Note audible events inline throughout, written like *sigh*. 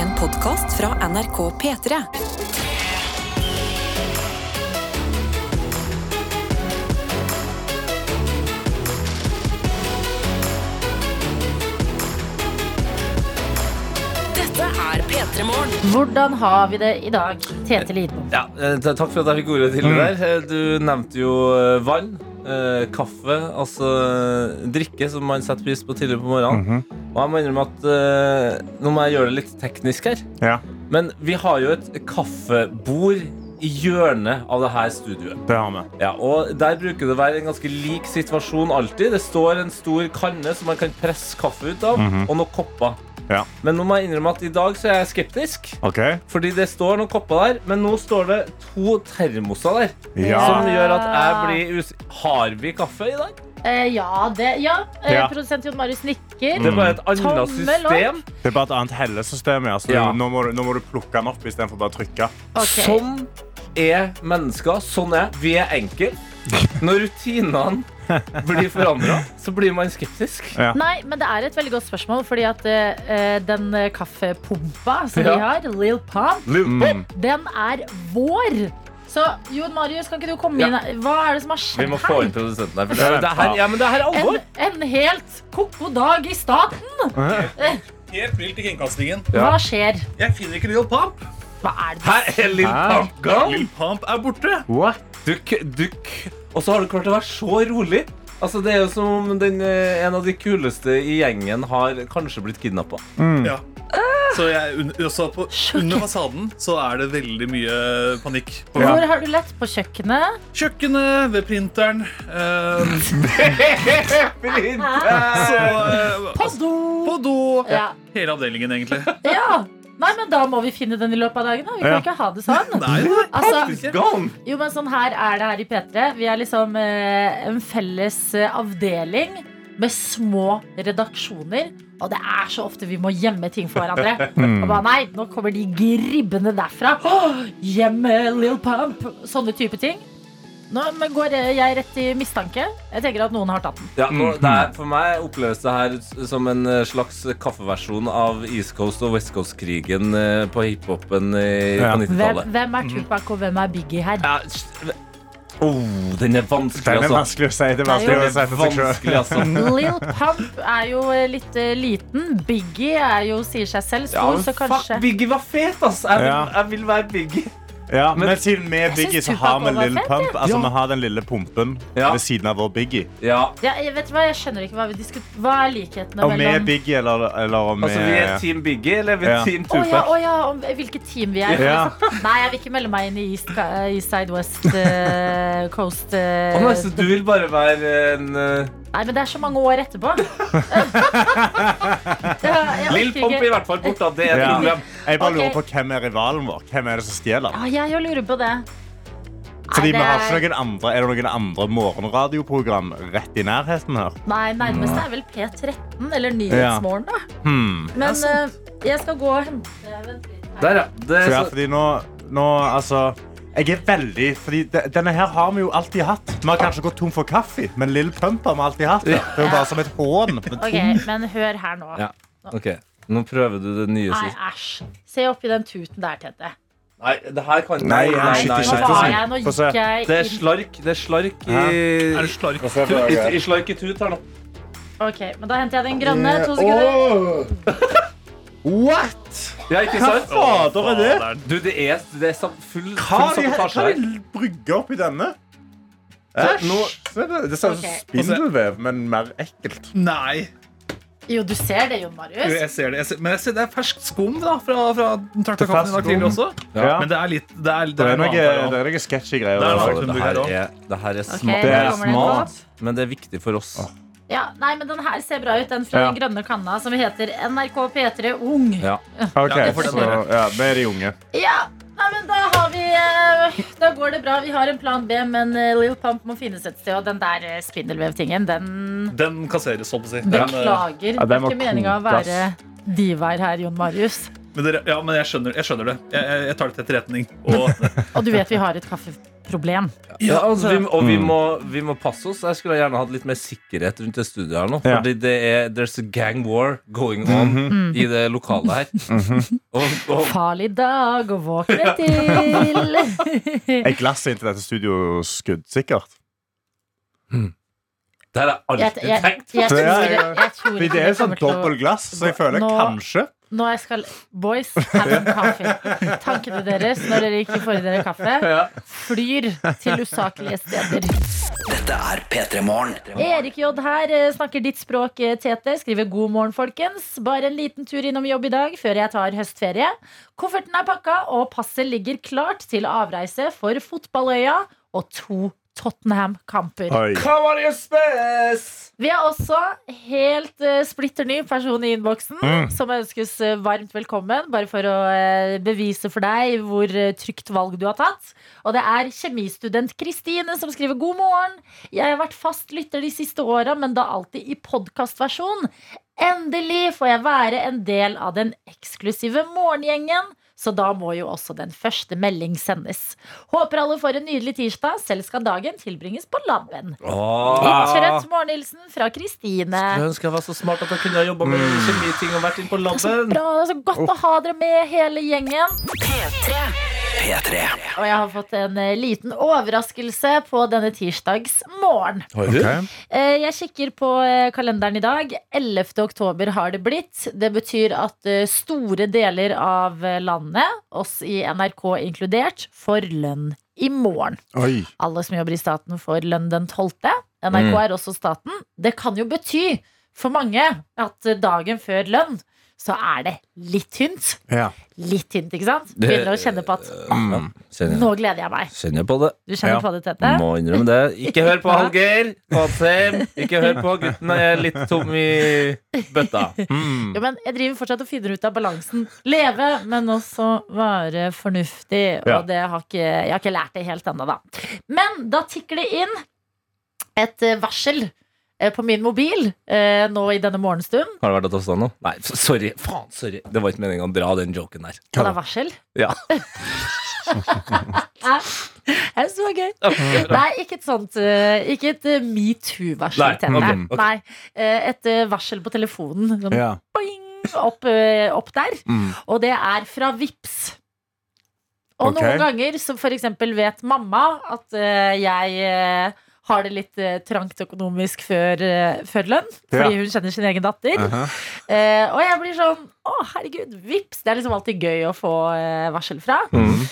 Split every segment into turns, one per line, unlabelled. En podkast fra NRK P3. Dette er P3 Morgen.
Hvordan har vi det i dag, Tete Lidbom?
Ja, eh, ta- Takk for at jeg fikk ordet til det der. Eh, Du nevnte jo eh, vann, eh, kaffe, altså eh, drikke som man setter pris på tidlig på morgenen. Og jeg må innrømme at eh, nå må jeg gjøre det litt teknisk her.
Ja,
Men vi har jo et kaffebord i hjørnet av det her studioet.
det har vi.
Ja, og Der bruker det å være en ganske lik situasjon alltid. Det står en stor kanne som man kan presse kaffe ut av, og noen kopper.
Ja.
Men nå må jeg innrømme at i dag så er jeg skeptisk.
OK?
Fordi det står noen kopper der, men nå står det to termoser der.
Ja.
Som gjør at jeg blir us... Har vi kaffe i dag?
Eh, ja, det Ja. Eh,
Ja.
Produsent Jon Marius nikker.
Det er bare et
Tommel
annet
opp.
system
Det er bare et annet hellesystem. Ja. Så
Ja.
du- Nå, må du, nå må du plukke den opp istedenfor bare å trykke.
Ok.
Sånn er mennesker. Sånn er Vi er enkle. Når rutinene blir forandra, så blir man skeptisk.
Ja.
Nei, men det er et veldig godt spørsmål, fordi at eh, den eh, kaffepumpa som
Ja.
vi har, Lil Pump,
Mm.
den er vår. Så Jon Marius, kan ikke du komme
Ja.
inn? Hva er det som har
Vi
skjedd
må få inn
her?
produsenten her. For det, er- det, er her ja, men det er her alvor.
En, en helt koko dag i staten!
Helt vilt i kringkastingen.
Ja.
Hva skjer?
Jeg finner ikke Lil Pump.
Hva er det?
Her er Lill
Hæ?
Pump Gone.
Lil Pump er borte.
What?
Dukk, dukk. Og så har du klart å være så rolig. Altså, det er jo som om den, eh, en av de kuleste i gjengen har kanskje blitt kidnappa.
Ja. Så jeg, un- også på, under fasaden så er det veldig mye panikk. På
Hvor har du lett på kjøkkenet?
kjøkkenet, ved printeren.
*laughs*
eh, så, eh,
På
Altså-
do!
på do.
Ja.
Hele avdelingen, egentlig.
ja. Nei, men da må vi finne den i løpet av dagen. Da. Vi kan
Ja.
ikke ha det sånn.
Nei, nei.
Altså,
Ikke.
Gone!
Jo, men sånn her er det her i P3. Vi er liksom eh, en felles eh, avdeling med små redaksjoner. Og det er så ofte vi må gjemme ting for hverandre. Og bare, nei, nå kommer de gribbene derfra. Åh, Gjemme Lil Pump. Sånne type ting. Nå men går eh, jeg rett i mistanke. Jeg tenker at noen har tatt den.
Ja,
Mm.
nå, det er, for meg oppleves det her s- som en eh, slags kaffeversjon av East Coast og West Coast-krigen eh, på hiphopen eh,
Ja.
på
Hvem,
90-tallet.
hvem er Tupac, og hvem er Biggie her?
Ja, s- oh, den er vanskelig,
Den er
altså.
vanskelig å si. Det er
Det er
vanskelig
jo
å si for seg selv.
Vanskelig, altså.
*laughs* Lil Pump er jo eh, litt eh, liten. Biggie er jo, sier seg selv,
Ja,
stor,
men
så kanskje
Fuck, Biggie var fet, ass! Jeg vil,
Ja.
jeg vil være Biggie.
Ja, men siden vi er
Jeg
Biggie,
synes Tupac
så har vi
også var
Lill
fet,
Pump. Altså,
Ja.
Vi har den lille pumpen
Ja.
ved siden av vår Biggie.
Ja,
Ja, jeg vet du hva, jeg skjønner ikke hva vi diskuterer. Hva er likhetene
Om vi er
mellom
Biggie, eller, eller om vi
altså vi er Team Biggie, eller er vi
Ja.
Team
Å ja,
Tupac?
å ja, om hvilket team vi er. liksom.
ja.
Nei, jeg vil ikke melde meg inn i East, eh, East Side West
*laughs*
eh, Coast eh,
Å nei, så du vil bare være en eh,
Nei, men det er så mange år etterpå.
*laughs*
Ja, jeg
Lill
orker
Pump
ikke.
i hvert fall borte. Det er et
Ja.
problem.
Jeg bare
Ok.
lurer på hvem er rivalen vår. Hvem er det som stjeler?
Ja, jeg jo lurer på det. Nei,
Fordi
det
vi har
er-
ikke noen andre Er det noen andre morgenradioprogram rett i nærheten her?
Nei, nærmeste er vel P13 eller Nyhetsmorgen, da.
Hmm.
Men eh, jeg skal gå og hente Vent litt her.
Der, ja. Det
Så
er
ja,
så,
fordi nå, nå Altså jeg er veldig, fordi de- Denne her har vi jo alltid hatt. Vi har kanskje gått tom for kaffe, men Lill Pump har vi alltid hatt. Det er jo bare som et hån.
OK,
*laughs*
men hør her nå.
Ja. OK, nå prøver du det nye
Nei,
sist.
æsj. Se oppi den tuten der, Tete.
Nei, det her kan
Nei, jeg sitter
Nå
ikke
nei.
sånn. Få
var
se.
jeg, nå
Få se.
gikk jeg
Det er
inn-
slark. Det er slark i
Er det slark?
Tut, i, i slark i tut her nå.
Ok, men da henter jeg den grønne. To sekunder.
What?
Ja, ikke sant?
Fader, er det?
Du, det er, det er sam- full,
Hva
full
har de, hva
sabotasje
har
her. Eh,
de brygga oppi denne?
Så
Æsj. Se Det det ser ut som
Ok.
spindelvev, men mer ekkelt.
Nei.
Jo, du ser det, Jon
Jo,
Marius.
jeg ser det. Jeg ser, men jeg ser det er ferskt skum da, fra, fra den tørka
Det er fersk
kaffen i dag tidlig også.
skum. Ja.
Men det er litt Det er, det
Det er
er
eh,
noe
noe,
annet
det
der også.
er noe sketchy greier.
Det er
der,
noe
altså.
Det her er, det her er sma-
det
det er
kommer det
smalt, men det er viktig for oss.
Ah.
Ja, nei, men den her ser bra ut. Den fra
Ja.
den grønne kanna som heter NRK P3 Ung.
Ja.
Ok,
Ja, for den
så
der.
ja, vi er de unge.
Ja, nei, men da har vi eh, Da går det bra. Vi har en plan B, men eh, Lil Pump må finnes et sted. Og den der eh, spindelvevtingen, den
Den kasseres, holdt jeg på å si. Den, eh,
beklager.
Ja,
det
den
er
må
ikke meninga å
kokes.
være divaer her, Jon Marius.
Men, dere, ja, men jeg, skjønner, jeg skjønner det. Jeg, jeg, jeg tar det til etterretning. Og
Og du vet vi har et kaffebord problem.
Ja, altså, vi,
Så-
og vi
Mm.
må, vi må passe oss. Jeg skulle gjerne hatt litt mer sikkerhet rundt det studioet her nå.
Ja.
Fordi det er there's a gang war going on
Mhm.
i det lokalet her. Og, og
Farlig dag å våkne til.
Et glass inn til dette studioskudd, sikkert.
det har jeg
*laughs* Jeg,
alltid
jeg, jeg,
tenkt.
jeg, tror,
Ja,
jeg,
ja.
tror
Fordi
ikke
det er sånn
kommer til å-
dobbelt glass, så jeg føler
Nå-
kanskje
Nå jeg skal Boys, have some coffee. Tankene deres når dere ikke får i dere kaffe,
Ja.
flyr til usaklige steder.
Dette er P3 Morgen.
Erik J her eh, snakker ditt språk, eh, Tete. Skriver 'God morgen, folkens'. Bare en liten tur innom jobb i dag før jeg tar høstferie. Kofferten er pakka, og passet ligger klart til avreise for fotballøya og to Tottenham-kamper.
Oi.
Come on, you space!
Vi har også helt eh, splitter ny person i innboksen
Mm.
som ønskes eh, varmt velkommen. Bare for å eh, bevise for deg hvor eh, trygt valg du har tatt. Og det er kjemistudent Kristine som skriver god morgen. Jeg har vært fast lytter de siste åra, men da alltid i podkastversjon. Endelig får jeg være en del av den eksklusive morgengjengen. Så da må jo også den første melding sendes. Håper alle får en nydelig tirsdag. Selv skal dagen tilbringes på labben. Litt
Åh.
trøtt morgenhilsen fra Kristine.
Jeg ønsker jeg var så smart at jeg kunne ha jobba med kjemiting og vært inne på
Så
laben.
bra, så godt å ha dere med, hele gjengen.
P3.
Og jeg har fått en eh, liten overraskelse på denne tirsdags morgen.
Ok.
Eh, Jeg kikker på eh, kalenderen i dag. 11. oktober har det blitt. Det betyr at eh, store deler av eh, landet, oss i NRK inkludert, får lønn i morgen.
Oi.
alle som jobber i staten får lønn den 12. NRK
Mm.
er også staten. Det kan jo bety for mange at eh, dagen før lønn så er det litt tynt.
Ja.
Litt tynt, ikke sant? Begynner å kjenne på at
Mm. Kjenner,
nå gleder jeg meg.
kjenner på det.
Du kjenner
Ja.
på det, Tete?
Må innrømme det. Ikke hør på Hallgeir og Sam. Ikke hør på gutten. Jeg er litt tom i bøtta.
Mm.
Jo, men jeg driver fortsatt og finner ut av balansen. Leve, men også være fornuftig.
Ja.
Og det har ikke, jeg har ikke lært det helt ennå, da. Men da tikker det inn et eh, varsel eh, på min mobil eh, nå i denne morgenstund.
Har det vært at avstand nå? Nei, f- sorry. Faen, sorry. Det var ikke meningen å dra den joken der.
Og det er varsel. *laughs*
Ja.
Det er så gøy. Nei, ikke et sånt eh, Ikke et eh, metoo-varsel.
Nei,
Tete.
ok, ok.
Nei, eh, et eh, varsel på telefonen. Sånn,
Ja.
boing, opp, eh, opp der.
Mm.
Og det er fra VIPS Og
Ok.
noen ganger så for eksempel vet mamma at eh, jeg eh, har det litt eh, trangt økonomisk før, eh, før lønn,
Ja.
fordi hun kjenner sin egen datter.
Aha.
Eh, og jeg blir sånn Å, herregud, vips! Det er liksom alltid gøy å få eh, varsel fra.
Mm.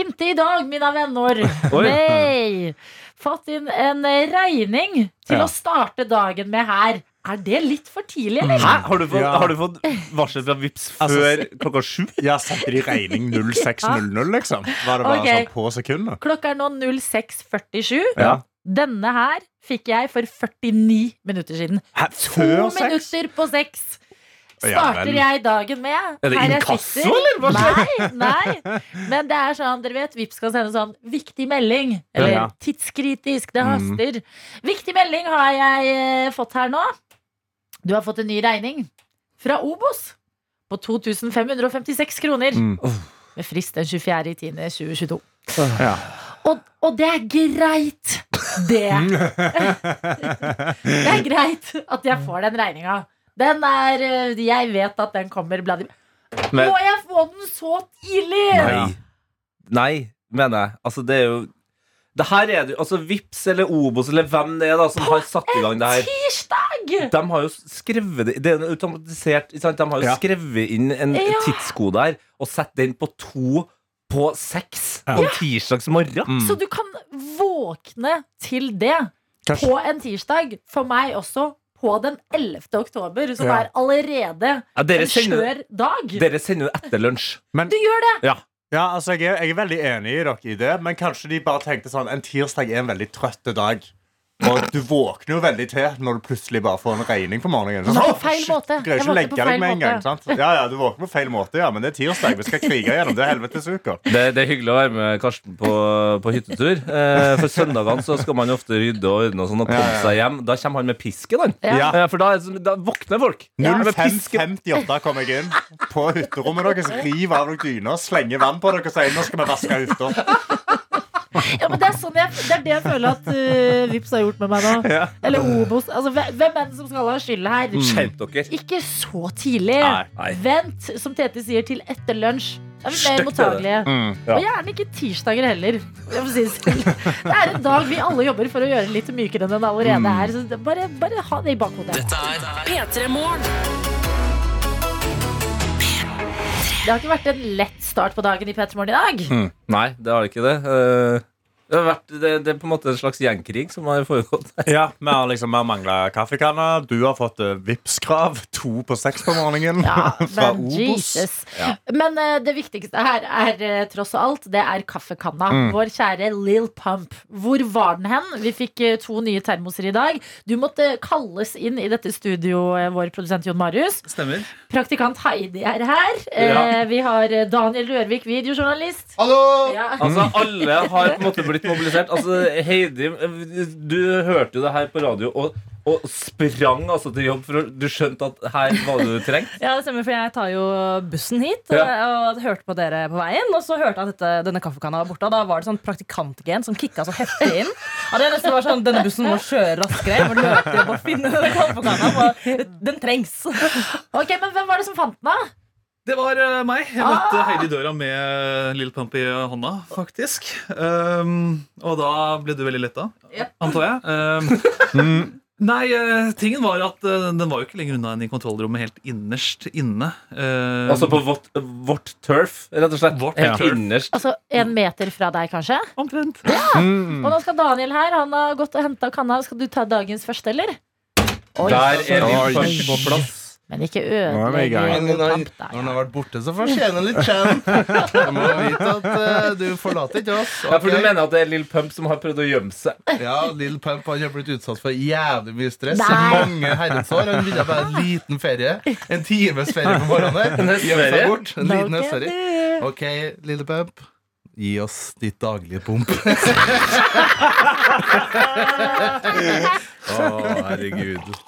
Inntil i dag, mine venner.
*laughs*
Oi.
Nei! Fått inn en eh, regning til
Ja.
å starte dagen med her. Er det litt for tidlig, eller?
Mm.
Hæ? Har du fått,
Ja.
har du fått varsel fra Vips før klokka sju?
Altså, *laughs* Ja, sendte de regning 0600, liksom? Var det bare
Ok.
sånn på sekundet?
Klokka er nå 06.47.
Ja.
Denne her fikk jeg for 49 minutter siden.
Hæ,
To
før seks?
minutter på seks
Ja,
starter
vel.
jeg dagen med.
Er det
Her jeg
inkasso,
sitter.
eller hva
Nei, nei. Men det er sånn, dere vet, Vipps skal sende sånn 'viktig melding'. Eller
Ja.
'tidskritisk'. Det
Mm.
haster. Viktig melding har jeg eh, fått her nå. Du har fått en ny regning fra Obos på 2556 kroner.
Mm.
Med frist den 24.10.2022.
Ja.
Og, og det er greit, det. det er greit at jeg får den regninga. Den er eh, Jeg vet at den kommer. Bla, bla.
Men,
Må jeg få den så tidlig?
nei. Nei, mener jeg. Altså, det er jo Det her er det jo Altså, Vips eller Obos eller hvem det er da som har satt i gang det her.
Tirsdag!
De har jo skrevet det Det er en automatisert ikke sant? De har jo
Ja.
skrevet inn en
Ja.
tidskode her og satt den på to på seks på en tirsdags morgen.
Så du kan våkne til det
Kanskje-
på en tirsdag. For meg også på den 11. oktober, som
Ja.
er allerede
Ja, dere
en
sender
skjør dag.
dere sender jo etter lunsj.
Du gjør det!
Ja.
Ja, altså jeg er, jeg er veldig enig i dere i det, men kanskje de bare tenkte sånn En tirsdag er en veldig trøtt dag. Og du våkner jo veldig til når du plutselig bare får en regning på morgenen. Sånn,
Men på
«Åh,
feil
shit,
måte.
du greier
Jeg
ikke å
våkner på
legge deg
feil
med en gang.
måte.
sant? Ja, ja, du våkner på feil måte, ja, men det er tirsdag. Vi skal krige gjennom det helvetesuka.
Det, det er hyggelig å være med Karsten på, på hyttetur. Eh, for søndagene så skal man jo ofte rydde og ordne og sånn og komme seg hjem. Da kommer han med pisken, han.
Ja.
Ja.
Eh, for da, er det som- da våkner folk. Han
altså,
med pisken.
05.58 kom jeg inn på hytterommet deres, river av dere dyna, slenger vann på dere og sier 'nå skal vi vaske hytta'.
Ja, men det er, sånn jeg, det er det jeg føler at uh, Vips har gjort med meg nå.
Ja.
Eller Obos. Altså, hve- hvem er det som skal ha skylda her?
Skjerp dere.
Ikke så tidlig.
Nei, nei.
Vent, som Tete sier, til etter lunsj. Da er vi mer
Støkk det der.
mottagelige.
ja.
Og gjerne ikke tirsdager heller. Jeg får si det selv. *laughs* Det er en dag vi alle jobber for å gjøre det litt mykere enn den allerede
Mm.
er. Så det- bare, bare ha det i bakhodet.
P3 Morgen.
Det har ikke vært en lett start på dagen i P3 Morgen i dag.
Nei, det har det ikke det. Eh, Det, har vært, det, det er på en måte en slags gjengkrig som har foregått.
Ja, Vi har liksom mangla kaffekanner. Du har fått uh, Vipps-krav. To på seks på morgenen.
Ja,
*laughs* Fra
men
Obos.
Jesus. Men eh, det viktigste her er eh, tross alt, det er kaffekanna.
Mm.
Vår kjære Lill Pump. Hvor var den hen? Vi fikk eh, to nye termoser i dag. Du måtte kalles inn i dette studio, eh, vår produsent Jon Marius.
Stemmer.
Praktikant Heidi er her. Eh, Vi har eh, Daniel Rørvik, videojournalist.
Hallo!
Ja.
Altså,
Mm.
Alle har på en måte blitt mobilisert. Altså, Heidi, du hørte jo det her på radio og, og sprang altså til jobb, for du skjønte at her var det du trengte.
Ja, det stemmer, for jeg tar jo bussen hit eh,
Ja.
og hørte på dere på veien. Og så hørte jeg at dette, denne kaffekanna var borte. Og da var det sånn praktikantgen som kicka så heftig inn. At jeg nesten var sånn Denne bussen må kjøre raskere. For du hørte jo på å finne denne kaffekanna. for Den trengs.
Ok, Men hvem var det som fant den, da?
Det var eh, meg. Jeg møtte Heidi i døra med Lill Pump i hånda, faktisk. Um, og da ble du veldig letta, antar jeg. Um, nei, eh, tingen var at eh, den var jo ikke lenger unna enn i kontrollrommet, helt innerst inne. Um,
Altså på vårt, vårt turf, rett og slett.
Vårt
Helt
turf.
innerst.
Altså en meter fra deg, kanskje?
omtrent.
Og nå skal Daniel her. Han har gått og henta kanna. Skal du ta dagens første, eller? Oi.
Der er
Oi.
vi først på plass.
Men ikke
Nå er vi i
ødelegg
gang.
Lill Pump, da.
Når han har vært borte, så fortjener han litt kjenn. Jeg må vite at eh, du forlater ikke oss.
Ja, for du
Ok.
mener at det er Lill Pump som har prøvd å gjemme seg?
Ja, Lill Pump han har blitt utsatt for jævlig mye stress.
Nei.
Mange herrens år. Han ville bare en liten ferie. En times ferie på morgenen. der. *laughs* Gjemme
høstferie?
seg bort. En liten
Ok,
høstferie. OK, Lille Pump. Gi oss ditt daglige pump. Å, herregud.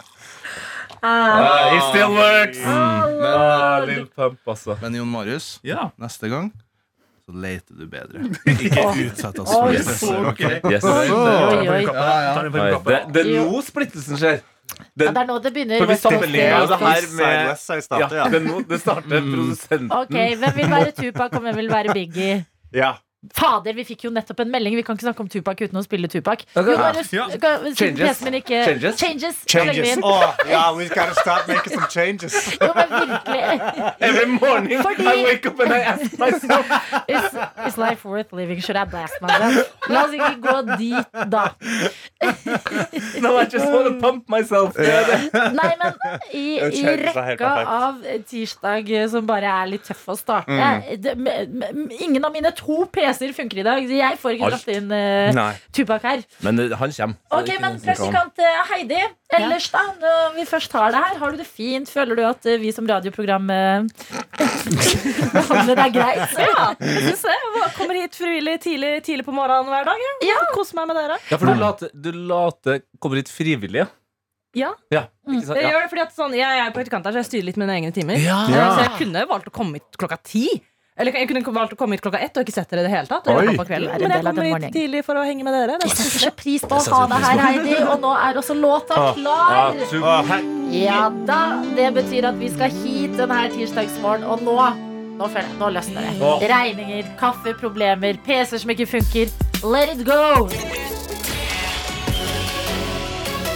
Ah, it still works! Ah, Lill Pump, altså.
Men Jon Marius,
Ja.
neste gang så leter du bedre. Ikke utsett oss for
Oi,
stress.
Så
ok?
gøy.
Yes.
Oi, oi.
Ja, ja.
Tar den
Nei,
på
Det,
kappa.
det er nå splittelsen skjer.
Ja, det er nå det begynner.
For vi sammenligner det her
Side
med
West Side
ja,
starter, ja.
det, er nå, det starter
Mm.
produsenten.
Ok, Hvem vil være Tupac, og hvem vil være Biggie?
ja.
Fader, vi fikk jo nettopp en melding. Vi kan ikke snakke om Tupac uten å spille Tupac. Jo, bare,
Ja.
kan- siden
Changes.
PC-en min ikke
Changes.
Changes. Da legger vi
Changes.
inn.
Oh, yeah, we gotta start making some changes.
Jo, men virkelig.
Every morning I
Fordi-
wake up and I ask myself
Is, is life worth living? Should I blast myself? La oss ikke gå dit, da.
Now I just wanna pump myself.
Nei, men i, i
Changes er helt
rekka
perfekt.
av tirsdag eh, som bare er litt tøff å starte Eh, det, me- me- Ingen av mine to PC-er funker i dag, så jeg får ikke
Alt.
dratt inn eh,
Nei.
Tupac her.
Men eh, han kommer.
Ok, men praktikant eh, Heidi, ellers da, når vi først har det her, har du det fint? Føler du at eh, vi som
*laughs*
radioprogram eh, behandler deg greit?
Ja, jeg synes det. Jeg bare kommer hit frivillig tidlig, tidlig på morgenen hver dag. jeg.
Ja.
Koser meg med dere.
Ja, for du later, du later kommer hit frivillig, ja?
Ja.
Ja,
Mm,
ikke sant?
Jeg
Ja.
gjør det fordi at sånn, jeg er praktikant her, så jeg styrer litt mine egne timer.
Ja.
Så jeg kunne valgt å komme hit klokka ti. Eller jeg kunne valgt å komme hit klokka ett og ikke sett dere i det hele tatt.
Oi.
Eller på kvelden.
Du
Men jeg
er en del av den
kommer hit
morgenen.
tidlig for å henge med dere. Det er
Setter så pris på å ha deg her, Heidi, og nå er også låta
Ah,
klar.
super.
Å, hei.
Ja da, det betyr at vi skal hit denne tirsdagsmorgen, og nå, nå, føler jeg, nå løsner det.
Åh.
Regninger, kaffeproblemer, PC-er som ikke funker. Let it go!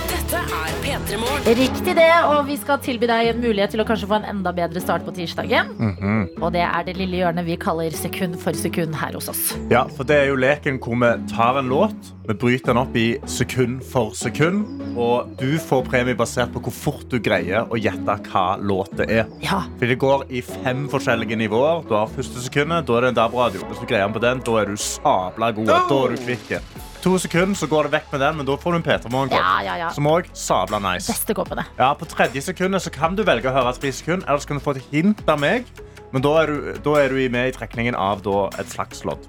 Dette er P3 Morgen.
Riktig det, og vi skal tilby deg en mulighet til å kanskje få en enda bedre start på tirsdagen.
Mhm.
Og det er det lille hjørnet vi kaller sekund for sekund her hos oss.
Ja, for det er jo leken hvor vi tar en låt, vi bryter den opp i sekund for sekund, og du får premie basert på hvor fort du greier å gjette hva låt det er.
Ja,
For det går i fem forskjellige nivåer. Du har første sekundet, da er det en DAB-radio. Hvis du greier den på den, da er du sabla god. Da
Oh!
er du kvikken. To sekunder, så går det vekk med den, men da får du en P3-morgenkåp.
ja, ja. ja.
Som òg sabla nice.
Beste kåpene.
Ja, På tredje sekundet så kan du velge å høre et frisekund, eller så kan du få et hint av meg. Men da er du, da er du i- med i trekningen av da, et flakslodd.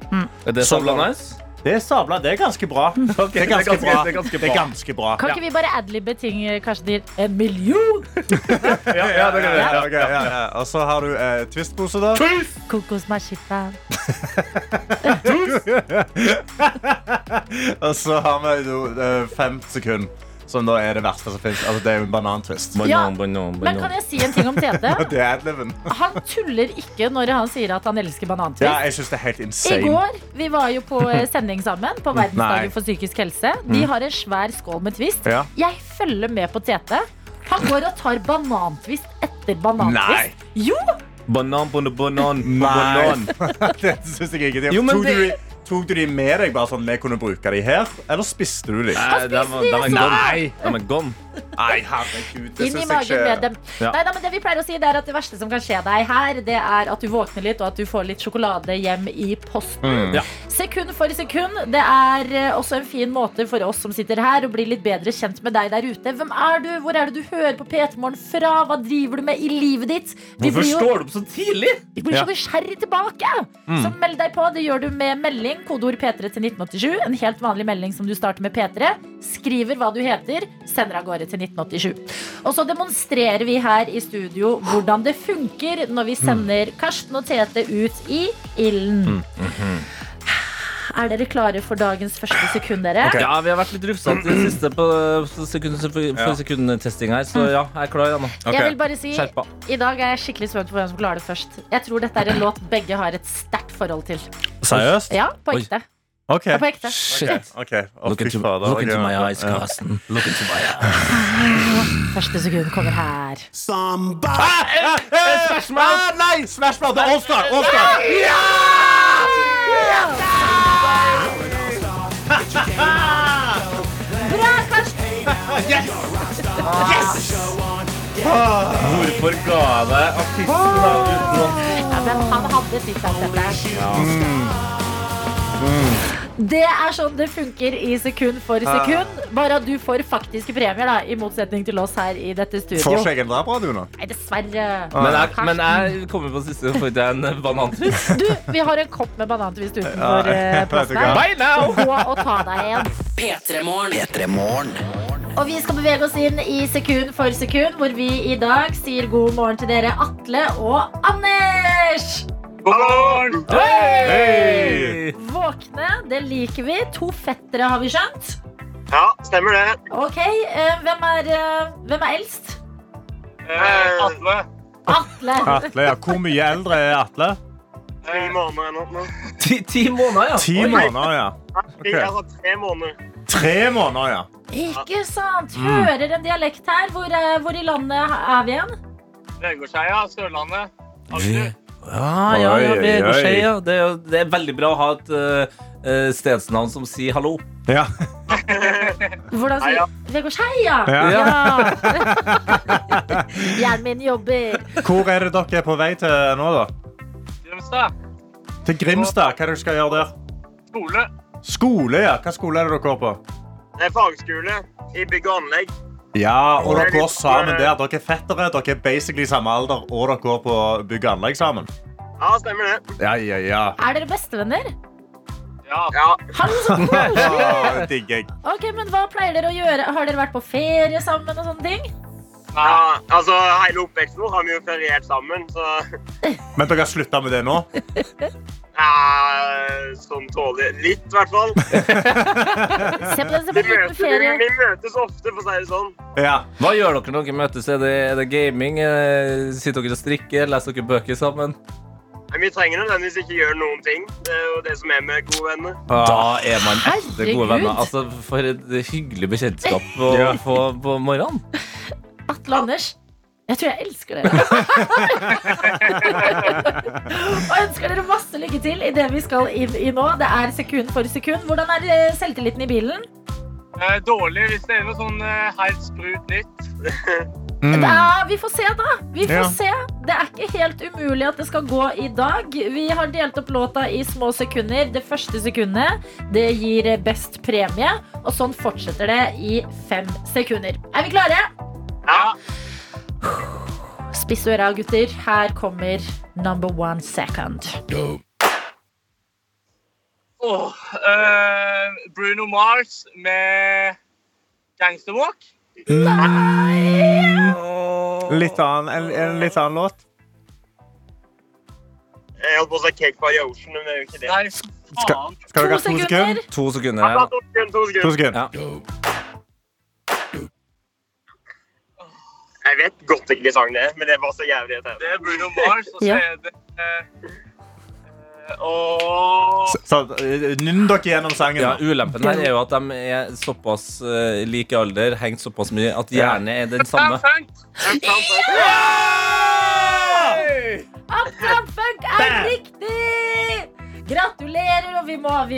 Er det
Så-
sabla nice?
Det er sabla. Det er ganske *laughs* bra. det er ganske bra. Det er ganske bra.
Kan ikke vi bare adlibbe ting eh, kanskje til en million?
Ja, ok, ja, ja. Og så har du eh, twistpose, da.
Kokos machita.
Og så har vi jo eh, fem sekunder, som da er det verste som fins. Altså, det er jo en banantwist.
Ja,
banan,
Men kan jeg si en ting om Tete?
*laughs* Det er adliven.
Han tuller ikke når han sier at han elsker banantvist.
Ja, jeg syns det er helt
I
insane.
går vi var jo på eh, sending sammen på
Nei. Mm.
Verdensdagen for psykisk helse. De har en svær skål med Twist.
Ja.
Jeg følger med på Tete. Han går og tar banantvist etter
Nei.
banantvist. Jo!
Banan på banan på
Nei.
banan.
*laughs* det syns jeg ikke.
Jo, men
Tok du,
det-
de- tok du de med deg, bare sånn vi kunne bruke de her? Eller spiste du de?
Nei, de er- de er gone. De er gone.
Nei, herregud. Det
Inn i
syns jeg
magen med
ikke.
dem.
Ja.
Nei, da, men det vi pleier å si det er at det verste som kan skje deg her, det er at du våkner litt, og at du får litt sjokolade hjem i
Mm.
posten.
Ja.
Sekund for sekund. Det er eh, også en fin måte for oss som sitter her, å bli litt bedre kjent med deg der ute. Hvem er du? Hvor er det du hører på P3 Morgen fra? Hva driver du med i livet ditt? Vi
Hvorfor
blir jo-
står du opp så tidlig?
Vi blir så nysgjerrig tilbake! Så meld deg på. Det gjør du med melding. Kodeord P3 til 1987. En helt vanlig melding som du starter med P3. Skriver hva du heter, sender av gårde til 1987. Og så demonstrerer vi her i studio hvordan det funker når vi sender Karsten og Tete ut i ilden. Er dere klare for dagens første sekund, dere?
Ja, vi har vært litt rufsete i det siste på sekund, for, for sekundtesting her,
Mm.
så ja, jeg er klar ennå.
Jeg vil bare si
Skjerpa.
i dag er jeg skikkelig spent på hvem som klarer det først. Jeg tror dette er en låt begge har et sterkt forhold til.
Seriøst?
Ja, på
Oi.
ekte.
OK.
Ja, på ekte.
Shit.
Ok, Å,
Look
fy
into,
fader,
look
ok.
into my eyes,
Ja.
Carsten. Look into my eyes.
Første sekund kommer her. Eh,
Ah, nei! Smash Brother Allstar! Allstar!
Bra, Karsten!
Hvorfor ga jeg deg artisten da uten å
Ja, men han hadde sitt sett Mm. Det er sånn det funker i sekund for sekund. Bare at du får faktiske premier, da, i motsetning til oss her i dette
Får
studio.
ikke jeg en drapradio nå?
Nei, dessverre.
men jeg,
Karsten.
men jeg kommer på siste, får ikke jeg en banantrus?
Du, vi har en kopp med banantvist utenfor eh,
vet
plassen
ikke.
her.
Bye now!
Gå og ta deg en.
P3 Morgen.
P3 Morgen.
Og vi skal bevege oss inn i sekund for sekund, hvor vi i dag sier god morgen til dere, Atle og Anders.
Hey!
Våkne, det liker vi. To fettere har vi skjønt.
Ja, stemmer det.
Ok, eh, hvem, er, eh, hvem er eldst?
Eh, Atle.
Atle.
Atle, ja. Hvor mye eldre er Atle?
Tre måneder eller noe.
Ti, ti måneder, ja.
Ti måneder, ja.
Tre, altså, tre måneder.
Tre måneder, ja.
Ikke sant? Hører en dialekt her. Hvor, eh, hvor i landet er vi igjen?
Vegårdsheia, Sørlandet.
Ja,
Asker.
Ah, ja, ja,
Oi,
vi går
oi.
skje, ja. Det, er, jo- det er veldig bra å ha et eh, eh, stedsnavn som sier hallo.
Ja,
Hvordan sier
Heia.
Vegårsheia?
Ja.
Ja. *laughs* Hjernen min jobber.
Hvor er det dere er på vei til nå, da?
Grimstad.
Til Grimstad. Hva er det du skal gjøre der?
Skole.
Skole, ja. Hva skole er det dere går på?
Det er fagskole i bygg og anlegg.
Ja, og dere går sammen der. Dere er fettere, dere er basically samme alder, og dere går på bygg og anlegg sammen.
Ja, stemmer det.
Ja, ja, ja.
Er dere bestevenner?
Ja. ja.
Han er så
Å,
koselig.
digger jeg.
Ok, men Hva pleier dere å gjøre? Har dere vært på ferie sammen? og sånne ting?
altså, hele oppveksten vår har vi jo feriert sammen, så
Men dere har slutta med det nå?
ja, Sånn tåler litt, i hvert fall.
Se på den som
Vi
en liten
møtes, vi,
ferie.
vi møtes ofte, for å si det sånn.
Ja.
Hva gjør dere når dere møtes? Er det, er det gaming? Eh, Sitter dere og strikker? Leser dere bøker sammen?
Men vi trenger nødvendigvis ikke gjøre noen ting. Det er jo det som er med gode venner.
Ah.
Da er man ekte
Herregud.
gode venner. Altså, For et hyggelig bekjentskap å få på morgenen.
Atle og Anders, jeg tror jeg elsker dere. og ønsker dere masse lykke til i det vi skal inn i nå. Det er sekund for sekund. Hvordan er eh, selvtilliten i bilen?
Eh, dårlig hvis det er noe sånn helt sprut nytt.
Det er, vi får se, da. Vi får
Ja.
se. Det er ikke helt umulig at det skal gå i dag. Vi har delt opp låta i små sekunder. Det første sekundet det gir best premie. Og sånn fortsetter det i fem sekunder. Er vi klare?
Ja.
Spiss øra, gutter. Her kommer number one second.
Åh, eh, Bruno Mars med Gangsterwalk.
Litt annen, en, en litt annen låt.
Jeg holdt på å si Cake by the Ocean, men det er jo ikke det.
Nei,
Skal,
faen.
skal
To
dere ha to
sekunder.
sekunder?
To sekunder
Ja,
her.
to sekunder, to
To
sekunder.
sekunder.
Ja.
Jeg vet godt ikke hvilken sang det er, men det var så jævlig irriterende.
Det er Bruno Mars, og så
Ja.
er det eh, eh, Åh
Så, så eh, nynn dere gjennom sangen.
Ja,
nå.
Ulempen her er jo at de er såpass eh, like i alder, hengt såpass mye, at hjernen er den samme.
Uptown Funk er riktig! Gratulerer, og vi må ha vi,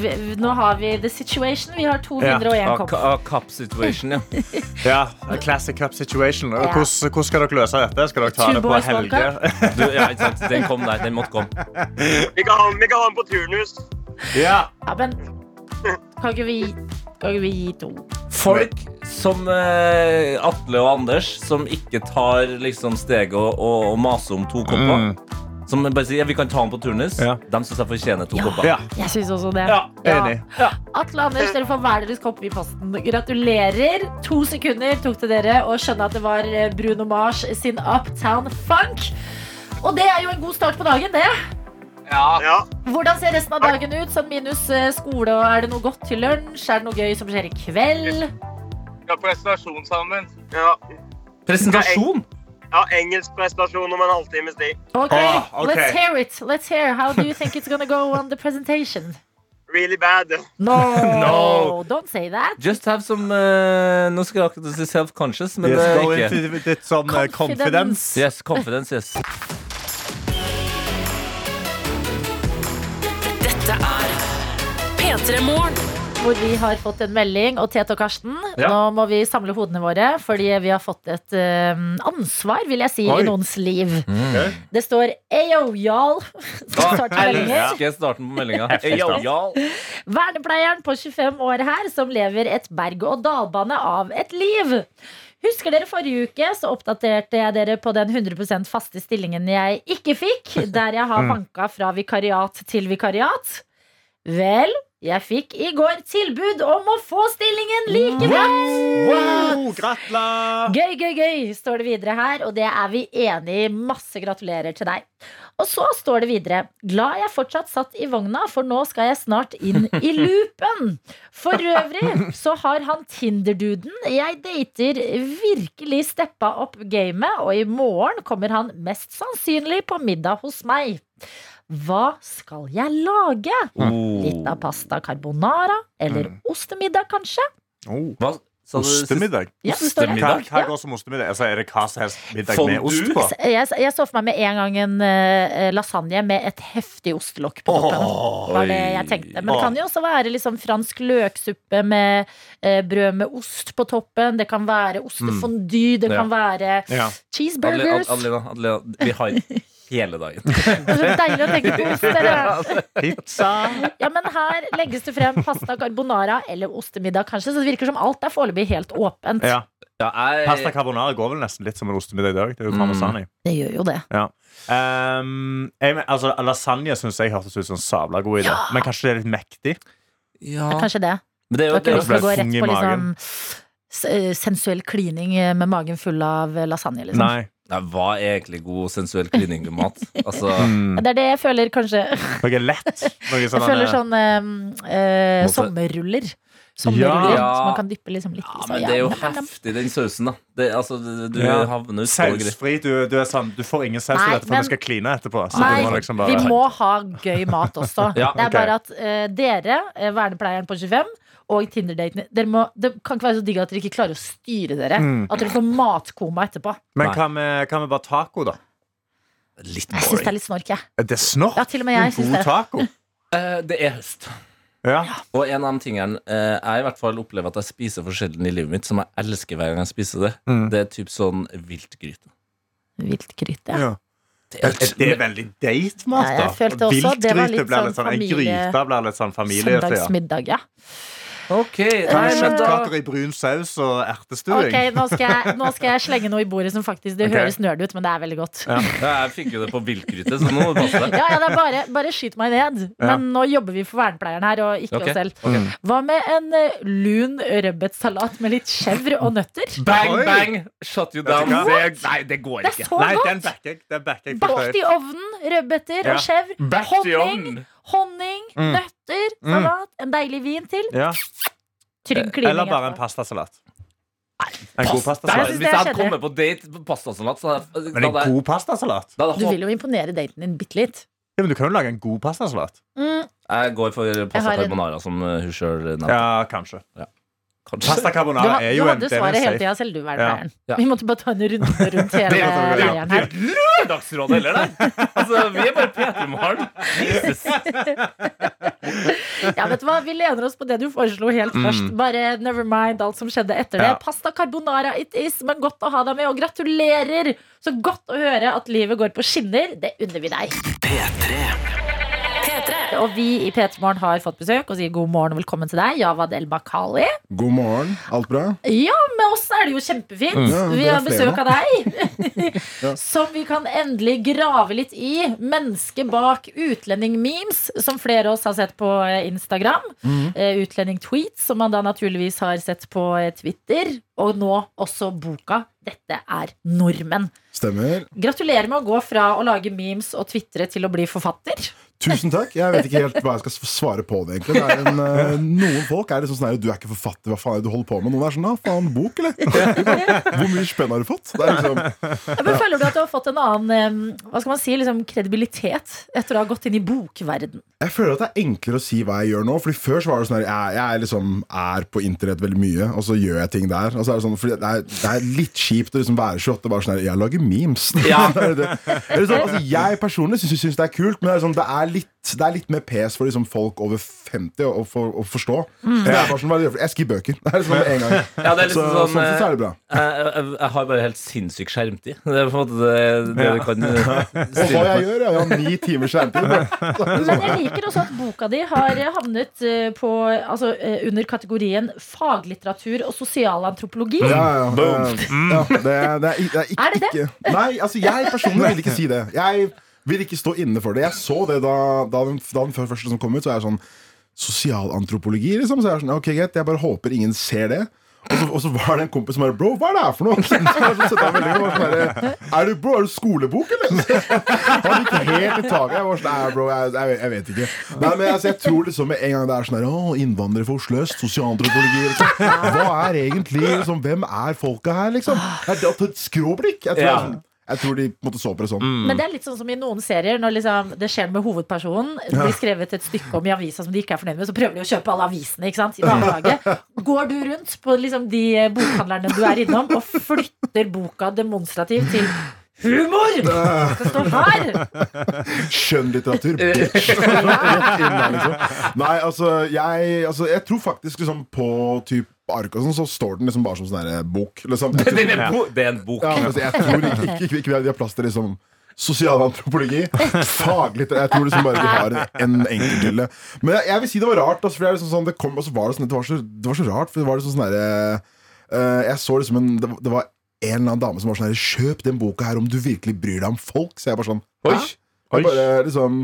vi- Nå har vi the situation. Vi har 201
A-
kopp.
a Cup situation, ja.
Ja, a Classic cup situation. Og Hvordan, hvordan skal dere løse dette? Skal dere ta
Two
det på
boys, one
helge?
Du, ja ikke sant? Den kom der. Den måtte komme.
Vi kan ha vi kan ha den på turnus.
*laughs* Ja.
Ja, men kan ikke vi kan ikke vi gi to?
Folk som eh, Atle og Anders, som ikke tar liksom steget og, og, og maser om to kopper.
Mm.
Som bare sier ja, vi kan ta den på turnus.
Ja.
De syns jeg fortjener to kopper.
ja.
Jeg syns også det.
Ja,
enig.
Atle og Anders, dere får hver deres kopp i posten. Gratulerer. To sekunder tok det dere å skjønne at det var eh, Bruno Mars sin Uptown Funk. Og det er jo en god start på dagen, det.
Ja.
Hvordan ser resten av dagen ut? Sånn minus eh, skole, og er det noe godt til lunsj? Er det noe gøy som skjer i kveld?
Skal på restaurasjon sammen.
ja.
Presentasjon!
ja engelsk prestasjon om en halvtimes tid.
Okay,
Ah, ok.
let's hear it. Let's hear. How do you think it's gonna go on the
*laughs*
presentation?
Really bad.
No,
No.
don't say that.
Just have some eh, Nå skal jeg akkurat si self-conscious, men
Yes,
det
go
er ikke
into litt sånn eh, confidence.
Yes, confidence,
*laughs*
yes.
Dette er P3 Morgen.
Hvor vi har fått en melding, og Tete og Karsten,
Ja.
nå må vi samle hodene våre, fordi vi har fått et eh, ansvar, vil jeg si,
Oi. Mm.
i noens liv. Det står Ayo, y'all. *laughs* som starter meldinger.
Elsker starten på meldinga. Yo, y'all.
Vernepleieren på 25 år her som lever et berg-og-dal-bane av et liv. Husker dere forrige uke så oppdaterte jeg dere på den 100 faste stillingen jeg ikke fikk, der jeg har vanka fra vikariat til vikariat? Vel, jeg fikk i går tilbud om å få stillingen likevel!
Wow, gratulerer!
Gøy, gøy, gøy, står det videre her, og det er vi enig i. Masse gratulerer til deg. Og så står det videre Glad jeg fortsatt satt i vogna, for nå skal jeg snart inn i loopen. For øvrig så har han Tinder-duden jeg dater, virkelig steppa opp gamet, og i morgen kommer han mest sannsynlig på middag hos meg. Hva skal jeg lage? Litt av pasta carbonara? Eller ostemiddag, kanskje?
Oh.
Hva sa du sist?
Ostemiddag?
Ja, det står her.
Hva,
Ostemiddag?
hva går som ostemiddag? Altså, er det hva som helst middag
Fondue?
med ost på?
Jeg, jeg så for meg med en gang en eh, lasagne med et heftig ostelokk på toppen. var det jeg tenkte. Men det kan jo også være liksom fransk løksuppe med eh, brød med ost på toppen. Det kan være ostefondy, det
Ja.
kan være
Ja.
cheeseburgers.
Adelina, Adelina, Adelina, vi har hele dagen.
*laughs* Det er så deilig å tenke på ost. Dere.
Pizza?
*laughs* Ja, men her legges det frem pasta carbonara eller ostemiddag, kanskje. Så det virker som alt er foreløpig helt åpent.
Ja.
Ja, jeg-
Pasta carbonara går vel nesten litt som en ostemiddag i dag. Det er jo parmesan i.
Det gjør jo det.
Ja. Ehm, jeg, men- altså, lasagne syns jeg hørtes ut som en sabla god idé, men kanskje det er litt mektig?
ja.
Ja, kanskje det.
Men det er
Du
jo
har ikke lyst til å gå rett
Fung i
på liksom
magen.
s- eh, sensuell klining eh, med magen full av eh, lasagne, liksom.
Nei.
Nei, Hva er egentlig god sensuell klining med *laughs* mat? Altså,
Det er det jeg føler, kanskje.
Mm. Noe lett.
*laughs*
Noe
Jeg føler sånn eh, eh,
Måte-
sommerruller. Sommerruller
Ja.
som man kan dyppe liksom litt
ja,
i. så
men det er jo
ja, nam, nam, nam.
heftig, den sausen, da. Det, altså, du du
Ja.
havner utpå greier.
Sausfri. Du, du er sånn, du får ingen saus
Nei,
til dette, for
men-
vi skal kline etterpå. Så
Nei,
du må liksom
vi
bare
må ha gøy mat også.
Ja,
Det
ok.
er bare at eh, dere, eh, vernepleieren på 25 og Tinder-datene dere må- Det kan ikke være så digg at dere ikke klarer å styre dere. At dere får matkoma etterpå.
Men
Nei.
hva med, hva med bare taco, da?
Litt
Jeg syns det er
boring.
litt snork, jeg.
Eh, Det er snork.
Ja, til og med jeg
en
synes
god
det.
taco.
Eh, Det er høst.
Ja.
Og en av de tingene eh, jeg i hvert fall opplever at jeg spiser for sjelden i livet mitt, som jeg elsker hver gang jeg spiser det,
Mm.
det er typ sånn viltgryte.
Vilt krytt, ja.
Ja. Det det er veldig date-mat,
Ja,
da.
jeg følte også det var
Viltgryte
litt
blir
sånn
litt sånn, en
familie-
gryte blir litt sånn familie. Ja.
Søndagsmiddag, ja.
Ok, nei,
Kan du
men da
Kjøttkaker i brun saus og ertestuing.
Ok, nå skal, jeg, nå skal jeg slenge noe i bordet som faktisk Det
Ok.
høres nerd ut, men det er veldig godt. Ja,
ja, Jeg fikk jo det på viltgryte, så nå må det passe. *laughs*
ja, det er bare, bare skyt meg ned.
Ja.
Men nå jobber vi for vernepleieren her, og ikke
Ok,
oss selv. Hva med en eh, lun rødbetsalat med litt chèvre og nøtter?
Bang,
Oi.
bang! Shut you
Vet
down.
du hva?
Nei, det går
Det er så
Nei,
godt!
den backer jeg. Den backer jeg for
Bakt i
høyt.
ovnen, rødbeter
Ja.
og chèvre.
Bakt i
Honning,
ovnen.
honning
Mm.
nøtter,
Mm.
salat, en deilig vin til.
Ja.
Trygg klining.
Eller bare en
etterpå.
altså.
pastasalat. En god
Jeg
Hvis
synes
pastasalat.
det
jeg hadde
skjedde.
kommet på date på pastasalat, så hadde jeg-
Men en
da hadde jeg-
god pastasalat?
da hadde
Du
jeg
vil jo imponere daten din bitte litt.
Ja, men du kan jo lage en god pastasalat.
Mm.
Jeg går for pasta
har en-
carbonara, som eh, hun sjøl nevnte.
Ja, kanskje.
Kanskje.
Pasta
Du,
carbonara
ha-
er
du
jo en
hadde
det er
svaret hele
safe.
tida selv, du, vernepleieren.
Ja.
Vi måtte bare ta en
*laughs*
runde rundt hele
Det er jo-
leiren her.
Lørdagsrådet, eller? det? Altså, vi er bare P3-morgen. Jesus.
Ja, vet du hva? Vi lener oss på det du foreslo helt først. Bare never mind alt som skjedde etter
Ja.
det. Pasta carbonara it is, men godt å ha deg med, og gratulerer! Så godt å høre at livet går på skinner. Det unner vi deg.
P3.
Og vi i P3 Morgen har fått besøk og sier god morgen og velkommen til deg, Jawad El Bakali.
God morgen. Alt bra?
Ja, med oss er det jo kjempefint.
Mm. Ja,
vi
det er
har besøk av deg. *laughs*
Ja.
Som vi kan endelig grave litt i. Mennesket bak utlending-memes, som flere av oss har sett på eh, Instagram.
Mm.
Eh, Utlending-tweets, som man da naturligvis har sett på eh, Twitter. Og nå også boka 'Dette er nordmenn'.
Stemmer.
Gratulerer med å gå fra å lage memes og twitre til å bli forfatter.
Tusen takk. Jeg vet ikke helt hva jeg skal svare på det, egentlig. Det er en, eh, noen folk er liksom sånn her Du er ikke forfatter, hva faen er det du holder på med? Noen er sånn ja, faen, bok, eller? Hvor mye spenn har du fått? Det er liksom
Ja,
*laughs*
Men Føler du at du har fått en annen eh, hva skal man si, liksom kredibilitet etter å ha gått inn i bokverden?
Jeg føler at det er enklere å si hva jeg gjør nå. Fordi Før så var det sånn her jeg, jeg er liksom er på internett veldig mye, og så gjør jeg ting der. Og så er Det sånn fordi det er, det er litt kjipt å liksom være 28 bare sånn her Jeg lager memes. *laughs* det er det. Eller sånn, altså, jeg personlig syns, syns det er kult, men det er, sånn, det er, litt, det er litt mer pes for liksom, folk over 50 å, å, for, å forstå. Det er bare sånn, hva er det du gjør for? Jeg skriver bøker. Det er liksom med en gang.
Ja, det er
så,
liksom
sånn,
sånn,
sånn sett så
eh,
er det bra.
jeg, jeg, jeg har bare helt sinnssykt skjermtid. Det er på en måte det, det du kan eh,
*laughs* Og
stille
hva
på.
jeg gjør? Jeg har ni timers skjermtid.
Men jeg liker også at boka di har havnet eh, på, altså, eh, under kategorien faglitteratur og sosialantropologi.
Ja, ja, ja. ja det, det, er, det er ikke
Er det det?
ikke- Nei, altså jeg personlig vil ikke si det. Jeg vil ikke stå inne for det. Jeg så det da, da den, da den første som kom ut, så er jeg sånn Sosialantropologi, liksom. Så jeg er sånn, ok, greit, jeg bare håper ingen ser det. Og så, og så var det en kompis som bare Bro, hva er det her for noe? *laughs* Så jeg sånn, setter meg veldig, og bare, er du bro, er du skolebok, eller? *laughs* Han gikk helt i taket. Jeg var sånn, nei, bro, jeg, jeg, jeg vet ikke. Nei, men altså, jeg tror liksom med en gang det er sånn der, Å, innvandrere fra Oslo øst, sosialantropologi liksom. Hva er egentlig liksom, Hvem er folka her, liksom? Jeg, det er et skråblikk. Jeg tror, jeg,
Ja.
er sånn- jeg tror de måtte så på det sånn.
Men det er litt sånn som i noen serier, når liksom, det skjer noe med hovedpersonen. Det blir skrevet et stykke om i avisa som de ikke er fornøyd med, så prøver de å kjøpe alle avisene ikke sant? i barnehage.
*laughs*
Går du rundt på liksom, de eh, bokhandlerne du er innom, og flytter boka demonstrativt til
*laughs*
Humor! Det står her!
Skjønnlitteratur. bitch. Rett inn der, liksom. Nei, altså jeg, altså, jeg tror faktisk liksom på typ ark og sånn, så står den liksom bare som sånn her bok. Liksom. Jeg tror,
Det er en bo- det er en bok.
ja, men altså, jeg tror ikke,
*laughs*
ikke, ikke, ikke de har plass til liksom Sosialantropologi. Faglitter. Jeg tror liksom bare de har en enkelthylle. Men jeg, jeg vil si det var rart. Altså, for det, er liksom sånn, det, kom, og så var det, sånn, det, var så, det var så rart, for det var liksom sånn derre eh, Jeg så liksom en det, var- det var en eller annen dame som var sånn her Kjøp den boka her om du virkelig bryr deg om folk. Så jeg bare sånn Oi,
Oi.
Jeg bare, liksom,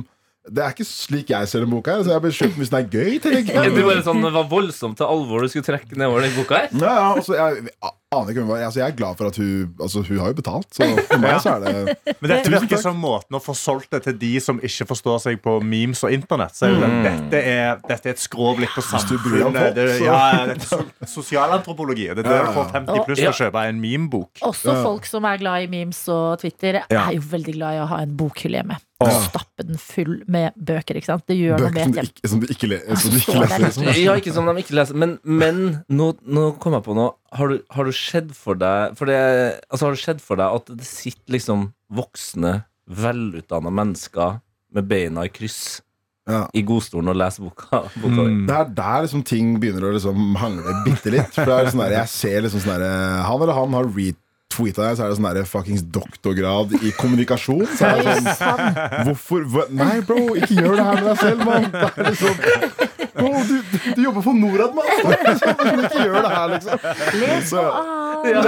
det er ikke slik jeg ser den boka. her, Så jeg bare kjøper den hvis den er gøy. tenker
Ja,
jeg.
Det var, sånn, det var voldsomt til alvor du skulle trekke nedover den boka her.
Ja, ja, altså, jeg aner ikke hvem hun var. Altså, jeg er glad for at hun Altså, hun har jo betalt, så for meg så er det
Men dette
Tusen
virker
takk.
som måten å få solgt det til de som ikke forstår seg på memes og internett. Så er jo det, dette, er, dette er et skråblikk på
Mm. Hvis du bryr deg om
samfunnet.
folk,
Det,
så-
ja, ja, dette er so- sosialantropologi. Det er det
Ja, ja,
du får
ja.
50 pluss
Ja.
til å kjøpe en memebok.
Også folk som er glad i memes og Twitter,
Ja.
er jo veldig glad i å ha en bokhylle hjemme. Og stappe den full med bøker. ikke sant? Det gjør noe
bøker
med
som
et
du
hjem.
ikke, som du ikke, le, som du ikke
så
leser.
det er
Liksom.
Ja, ikke som de ikke leser. Men, men nå, nå kom jeg på noe. Har du, har du sett for deg for det, altså, Har du sett for deg at det sitter liksom voksne, velutdanna mennesker med beina i kryss
Ja.
i godstolen og leser boka? boka di?
Mm.
Det er der liksom ting begynner å liksom hangle bitte litt. For det er sånn der, jeg ser liksom sånn der, Han eller han har retweeta deg, så er det sånn der fuckings doktorgrad i kommunikasjon. Så er det sånn Hvorfor hva, Nei, bro, ikke gjør det her med deg selv, mann! Det er liksom Wow, du, du jobber for Norad, mann! Så hvorfor kan du ikke gjøre det her, liksom?
Les
*laughs* Så-
*laughs*
Ja.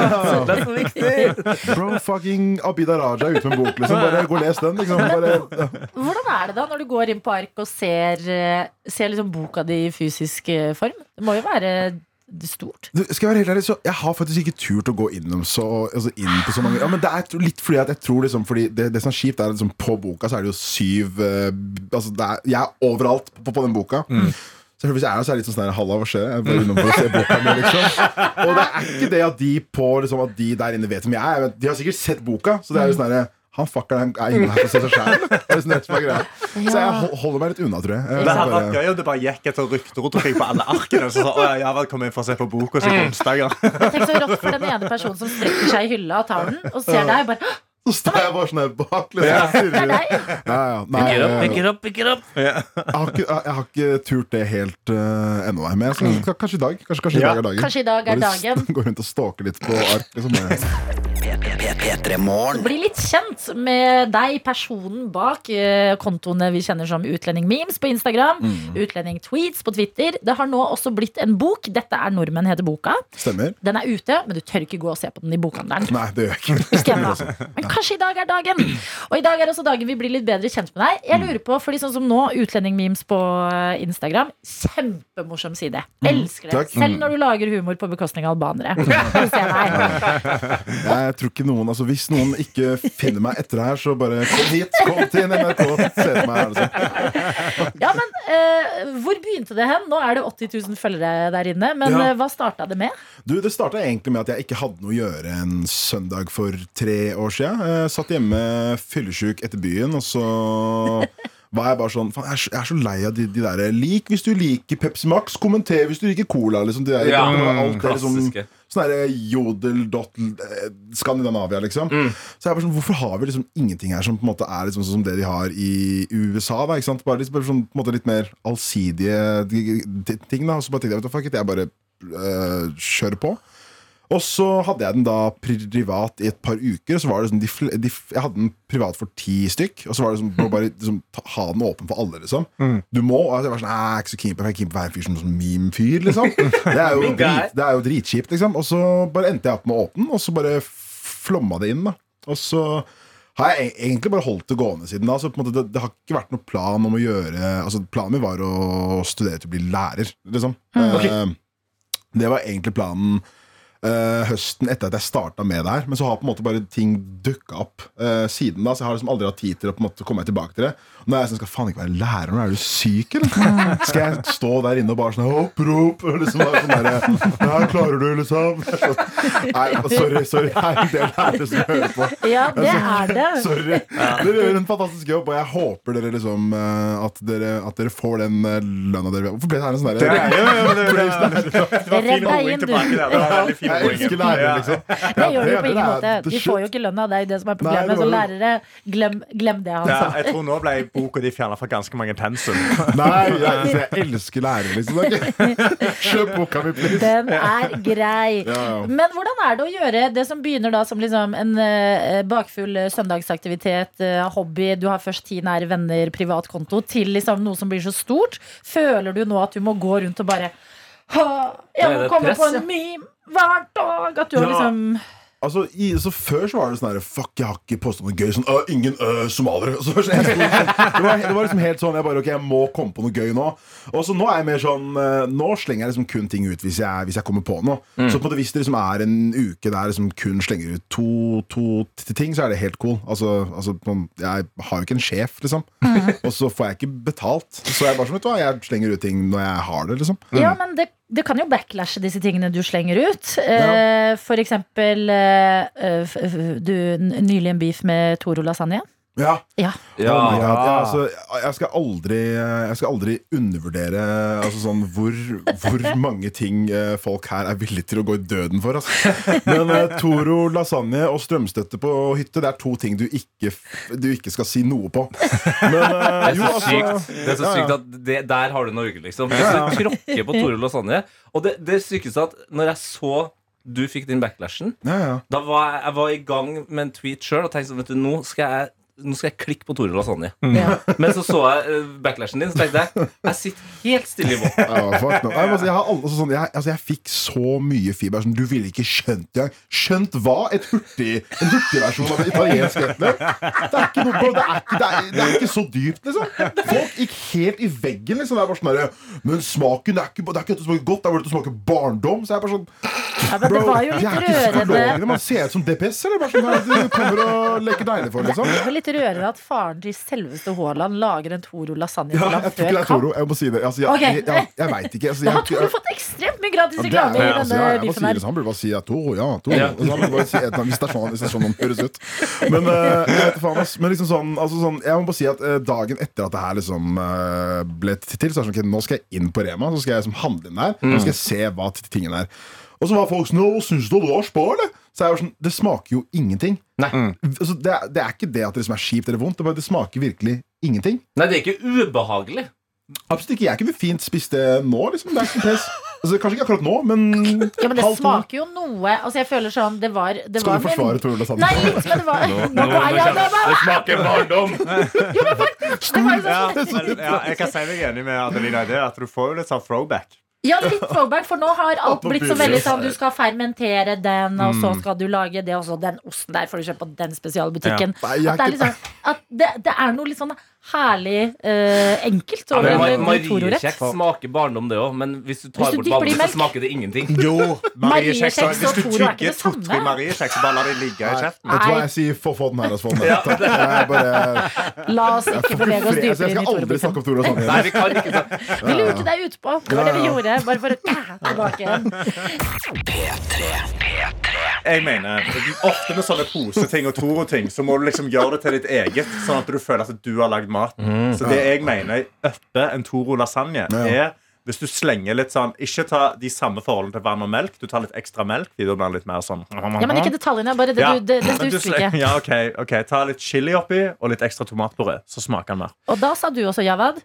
Bro fucking Abida Raja er ute med en bok, liksom. Bare gå og les den, liksom. Bare,
Hvordan er det da når du går inn på ark og ser, eh, ser liksom boka di i fysisk eh, form? Det må jo være
*laughs*
stort.
Du, skal jeg være helt ærlig, så jeg har faktisk ikke turt å gå innom så, altså inn på så mange ja, men Det er tro- litt fordi at jeg tror liksom Fordi det, det som er kjipt, er at liksom på boka så er det jo syv eh, altså det er, Jeg er overalt på, på den boka. Så Hvis jeg er der, så er det litt sånn sånn her, Halla, hva skjer? Jeg er bare innom for å se boka mi, liksom. Og det er ikke det at de, på, liksom, at de der inne vet hvem jeg er. men De har sikkert sett boka. Så det er jo sånn her, han fuckeren er inne her for å se seg sjæl. Det er liksom det som er greia. Så jeg hol- holder meg litt unna, tror jeg. jeg.
Det hadde
bare-
vært gøy om det bare gikk etter rykter og trykk på alle arkene. Så sa, «Å, jeg har kommet inn for å se på boka si på onsdager.
*laughs*
Tenk så rått for den ene personen som strekker seg i hylla og tar den, og ser deg og bare
Så står jeg bare sånn her bak. Liksom.
Ja.
Det er deg!
Ja, ja. Nei,
Pick it up,
eh,
pick it up, pick it up.
Jeg har ikke, jeg har ikke turt det helt eh, ennå. Men jeg skal, skal, kanskje i dag. Kanskje, kanskje
Ja.
i dag er dagen.
Kanskje i dag er
Bare *laughs* s-
dagen.
Gå rundt og stalke litt på ark. Liksom bare.
P3morgen.
Bli litt kjent med deg, personen bak eh, kontoene vi kjenner som Utlendingmemes på Instagram.
Mm.
Utlendingtweets på Twitter. Det har nå også blitt en bok. Dette er Nordmenn, heter boka.
Stemmer?
Den er ute, men du tør ikke gå og se på den i bokhandelen.
*laughs* Nei, altså. det gjør jeg ikke.
Ikke ennå. Men kanskje i dag er dagen. Og i dag er også dagen vi blir litt bedre kjent med deg.
Mm.
Jeg lurer på, fordi sånn som nå, utlendingmemes på eh, Instagram. Kjempemorsom side. Elsker det.
Mm. Takk.
Selv når du lager humor på bekostning av albanere.
*laughs*
Jeg ser deg.
Jeg tror ikke noen, altså Hvis noen ikke finner meg etter det her, så bare kom hit. Kom til NRK. Se på meg her, liksom.
Ja, men eh, hvor begynte det hen? Nå er det 80 000 følgere der inne, men
Ja.
eh, hva starta det med?
Du, Det starta egentlig med at jeg ikke hadde noe å gjøre en søndag for tre år sia. Satt hjemme fyllesyk etter byen, og så var jeg bare sånn Faen, jeg er så- jeg er så lei av de, de derre Lik hvis du liker Pepsi Max, kommenter hvis du liker Cola. liksom de der,
Ja,
alt det, liksom,
klassiske.
Sånn derre jodel dot eh, Skandinavia, liksom. Så jeg er bare sånn, Hvorfor har vi liksom ingenting her som på en måte er liksom sånn som det de har i USA? da, ikke sant? Bare, liksom, bare sånn, på en måte litt mer allsidige g- g- ting. da, Og så bare tenkte jeg vet du, fuck it, jeg bare eh, kjører på. Og så hadde jeg den da privat i et par uker. Og så var det sånn, de, fl- de, f- Jeg hadde den privat for ti stykk. Og så var det sånn, må bare liksom, ta, ha den åpen for alle, liksom. Du må. Og jeg var sånn, «Nei, jeg er ikke så keen på jeg er keen på å være en fyr som sånn meme-fyr, liksom. Det er jo,
Big guy.
drit, det er jo dritkjipt, liksom. Og så bare endte jeg opp med å åpne den, og så bare flomma det inn, da. Og så har jeg e- egentlig bare holdt det gående siden da. Så på en måte, det, det har ikke vært noen plan om å gjøre Altså, planen min var å studere til å bli lærer, liksom. Eh, det var egentlig planen eh, høsten etter at jeg starta med det her. Men så har på en måte bare ting dukka opp eh, siden da. Så jeg har liksom aldri hatt tid til å på en måte komme tilbake til det. Og nå er jeg sånn Skal faen ikke være lærer nå? Er du syk, eller? Skal jeg stå der inne og bare sånn Hopp, rop! og Liksom, bare sånn derre Ja, klarer du, liksom? *laughs* Sånn. Nei, sorry, sorry. Jeg er en del liksom.» lærere som hører på.
Ja, det er det.
Sorry. Dere gjør en fantastisk jobb, og jeg håper dere liksom eh, at dere, at dere får den eh, lønna dere Hvorfor ble det her en sånn
Det
derre
er jo- jo, det- det- det var fin
Redd deg inn,
holdning
du.
tilbake der. Det var veldig fin
Jeg
holdning.
elsker lærere, liksom.
Det gjør du
det-
på ingen
det
måte.
er-
De får jo ikke lønna. Det er jo det som er
Nei,
problemet.
det var
Så
jo-
lærere, glem, glem det altså. han
Ja,
sa.
jeg tror nå ble boka di fjerna fra ganske mange pensum.
Nei, jeg, jeg elsker lærere, liksom. Ok. Kjøp boka mi, please.
Den er grei.
Ja, ja.
Men hvordan er det å gjøre det som begynner da som liksom en eh, bakfull eh, søndagsaktivitet, eh, hobby, du har først ti nære venner, privat konto, til liksom noe som blir så stort? Føler du nå at du må gå rundt og bare «Åh, Jeg
Det er
må
det
komme
press,
på en meme hver dag! At du har liksom
Altså, i, så Før så var det sånn her Fuck, jeg har ikke posta noe gøy. Sånn, «Å, Ingen øh, somaliere. Og Så, var det sånn, jeg sto sånn, det, var, det var liksom helt sånn. Jeg bare, ok, jeg må komme på noe gøy nå. Og så Nå er jeg mer sånn eh, Nå slenger jeg liksom kun ting ut hvis jeg, hvis jeg kommer på noe. Så på en måte hvis det liksom er en uke der jeg liksom kun slenger ut to, to t- ting, så er det helt cool. Altså, altså man- Jeg har jo ikke en sjef, liksom. Og så får jeg ikke betalt. Så jeg bare sånn, vet du hva, jeg slenger ut ting når jeg har det, liksom.
Ja, men det, det kan jo backlashe disse tingene du slenger ut. Eh, for eksempel eh, f- f- du n- nylig en beef med Toro Lasagne.
Ja
Ja.
Oh my
Ja.
God. Ja, altså, jeg, skal aldri, jeg skal aldri undervurdere altså, sånn, hvor, hvor mange ting eh, folk her er villige til å gå i døden for. Altså. Men eh, Toro, lasagne og strømstøtte på hytte Det er to ting du ikke, f- du ikke skal si noe på. Men, eh,
Det
jo,
er så
altså,
sykt, det er så
ja, ja.
sykt at det, der har du Norge, liksom. Hvis du tråkker på Tore Lasagne Og det, det sykeste er at når jeg så du fikk den backlashen,
ja, ja.
da var jeg, jeg var i gang med en tweet sjøl og tenkte sånn, vet du, nå skal jeg nå skal jeg klikke på Tore Lasagne.
Mm. Ja.
Men så så jeg eh, backlashen din, så tenkte jeg jeg sitter helt stille i båten.
Ja, fuck no. Nei, men altså, jeg, har alle, altså, sånn, jeg, altså, jeg fikk så mye fiber som du ville ikke skjønt det. Skjønt hva? Et hurtig, en hurtigversjon av en italiensk etløp? Det er ikke noe på- det er ikke, det er, det er ikke så dypt, liksom. Folk gikk helt i veggen. liksom Det er bare sånn der, Men smaken det er ikke, det er ikke at det smaker godt, det er bare at det smaker barndom. Så jeg er bare sånn
men det var jo
jeg er
litt
ikke psykologene.
rørende.
Man ser ut som DPS, eller? Bare sånn her, du kommer og leker deilig for,
Det
liksom.
er vel litt rørende at faren til selveste Haaland lager en Toro lasagne
Ja,
til ham
jeg
før
tror ikke det er
kamp.
Toro. Jeg må si det. Altså, jeg
Ok.
jeg, jeg, jeg veit ikke. Altså,
Da har
jeg,
Toro fått ekstremt mye gratis
Ja, det er-
reklame i
ja, altså,
denne
ja, jeg må si
biffen
det,
her.
så Han burde bare si ja, Toro, ja, Toro.
Ja.
Altså, han burde bare si et eller annet, hvis det er sånn, hvis det er sånn han høres ut. Men, eh, jeg vet faen, ass. Men liksom sånn, altså, sånn, jeg må bare si at eh, dagen etter at det her liksom eh, ble t- til, så er det sånn ok, nå skal jeg inn på Rema, så skal jeg liksom handle inn der. Nå skal jeg se hva t- tingen er. Og så var folk sånn Å, syns du det var spa, eller? Så jeg var sånn Det smaker jo ingenting. Altså, det, er, det er ikke det at det liksom er kjipt eller vondt, det, er bare, det smaker virkelig ingenting.
Nei, det er ikke ubehagelig.
Absolutt ikke. Jeg kunne fint spist det nå, liksom. Det er ikke noe press. Altså, kanskje ikke akkurat nå, men
Ja, men det
halv to.
smaker jo noe Altså, jeg føler sånn Det var, det
Skal
var
du forsvare
min
Tore Lasagne?
Nei, litt, men det var
*laughs* Nå-
Nå
nå-
er jeg-
nå- Det smaker barndom!
sånn-
Ja, ja, jeg kan si meg enig med Adelina i det. At du får jo litt sånn throwback.
Ja, litt throwback, for nå har alt
Opp og
blitt så
buser.
veldig sånn Du skal fermentere den, og
Mm.
så skal du lage det, og så den osten der får du kjøpe på den spesialbutikken.
Nei, jeg er
At det er litt
ikke-
sånn At det, det er noe litt sånn herlig eh, enkelt over
Men
en
Ma-
god Toro-rett.
Mariekjeks smaker barndom, det òg, men hvis du tar
Hvis du
bort
dypper det i
vannet, så
melk.
smaker det ingenting.
Jo, Marie Kjeks.
Marie Kjeks
Hvis
og
du
Toro er ikke
tygger
det samme.
to-tre Marie Kjeks, bare lar de ligge i
Nei,
kjeften.
Vet du hva
Nei.
jeg sier? Få, få den her, altså. Få den her. Takk. Jeg, bare,
La oss ikke
jeg,
bevege oss
altså, jeg
dypere inn i
skal aldri
Toro-biffen.
snakke om Tore og
Nei,
Sanne igjen.
vi kan ikke ta
Vi lurte deg utpå. Det var det vi gjorde. Bare for å tilbake igjen.
Jeg mener, Ofte med sånne poseting og Toro-ting Så må du liksom gjøre det til ditt eget, sånn at du føler at du har lagd maten. Så det jeg mener oppe en Toro lasagne, er hvis du slenger litt sånn Ikke ta de samme forholdene til vann og melk. Du tar litt ekstra melk. fordi da blir det litt mer sånn
Ja, men ikke detaljene. Bare det
Ja,
du, det, det
men
du
du
husker
slenger-
ikke.
Ja, ok, ok, Ta litt chili oppi og litt ekstra tomatpuré, så smaker den mer.
Og da sa du også, Javad.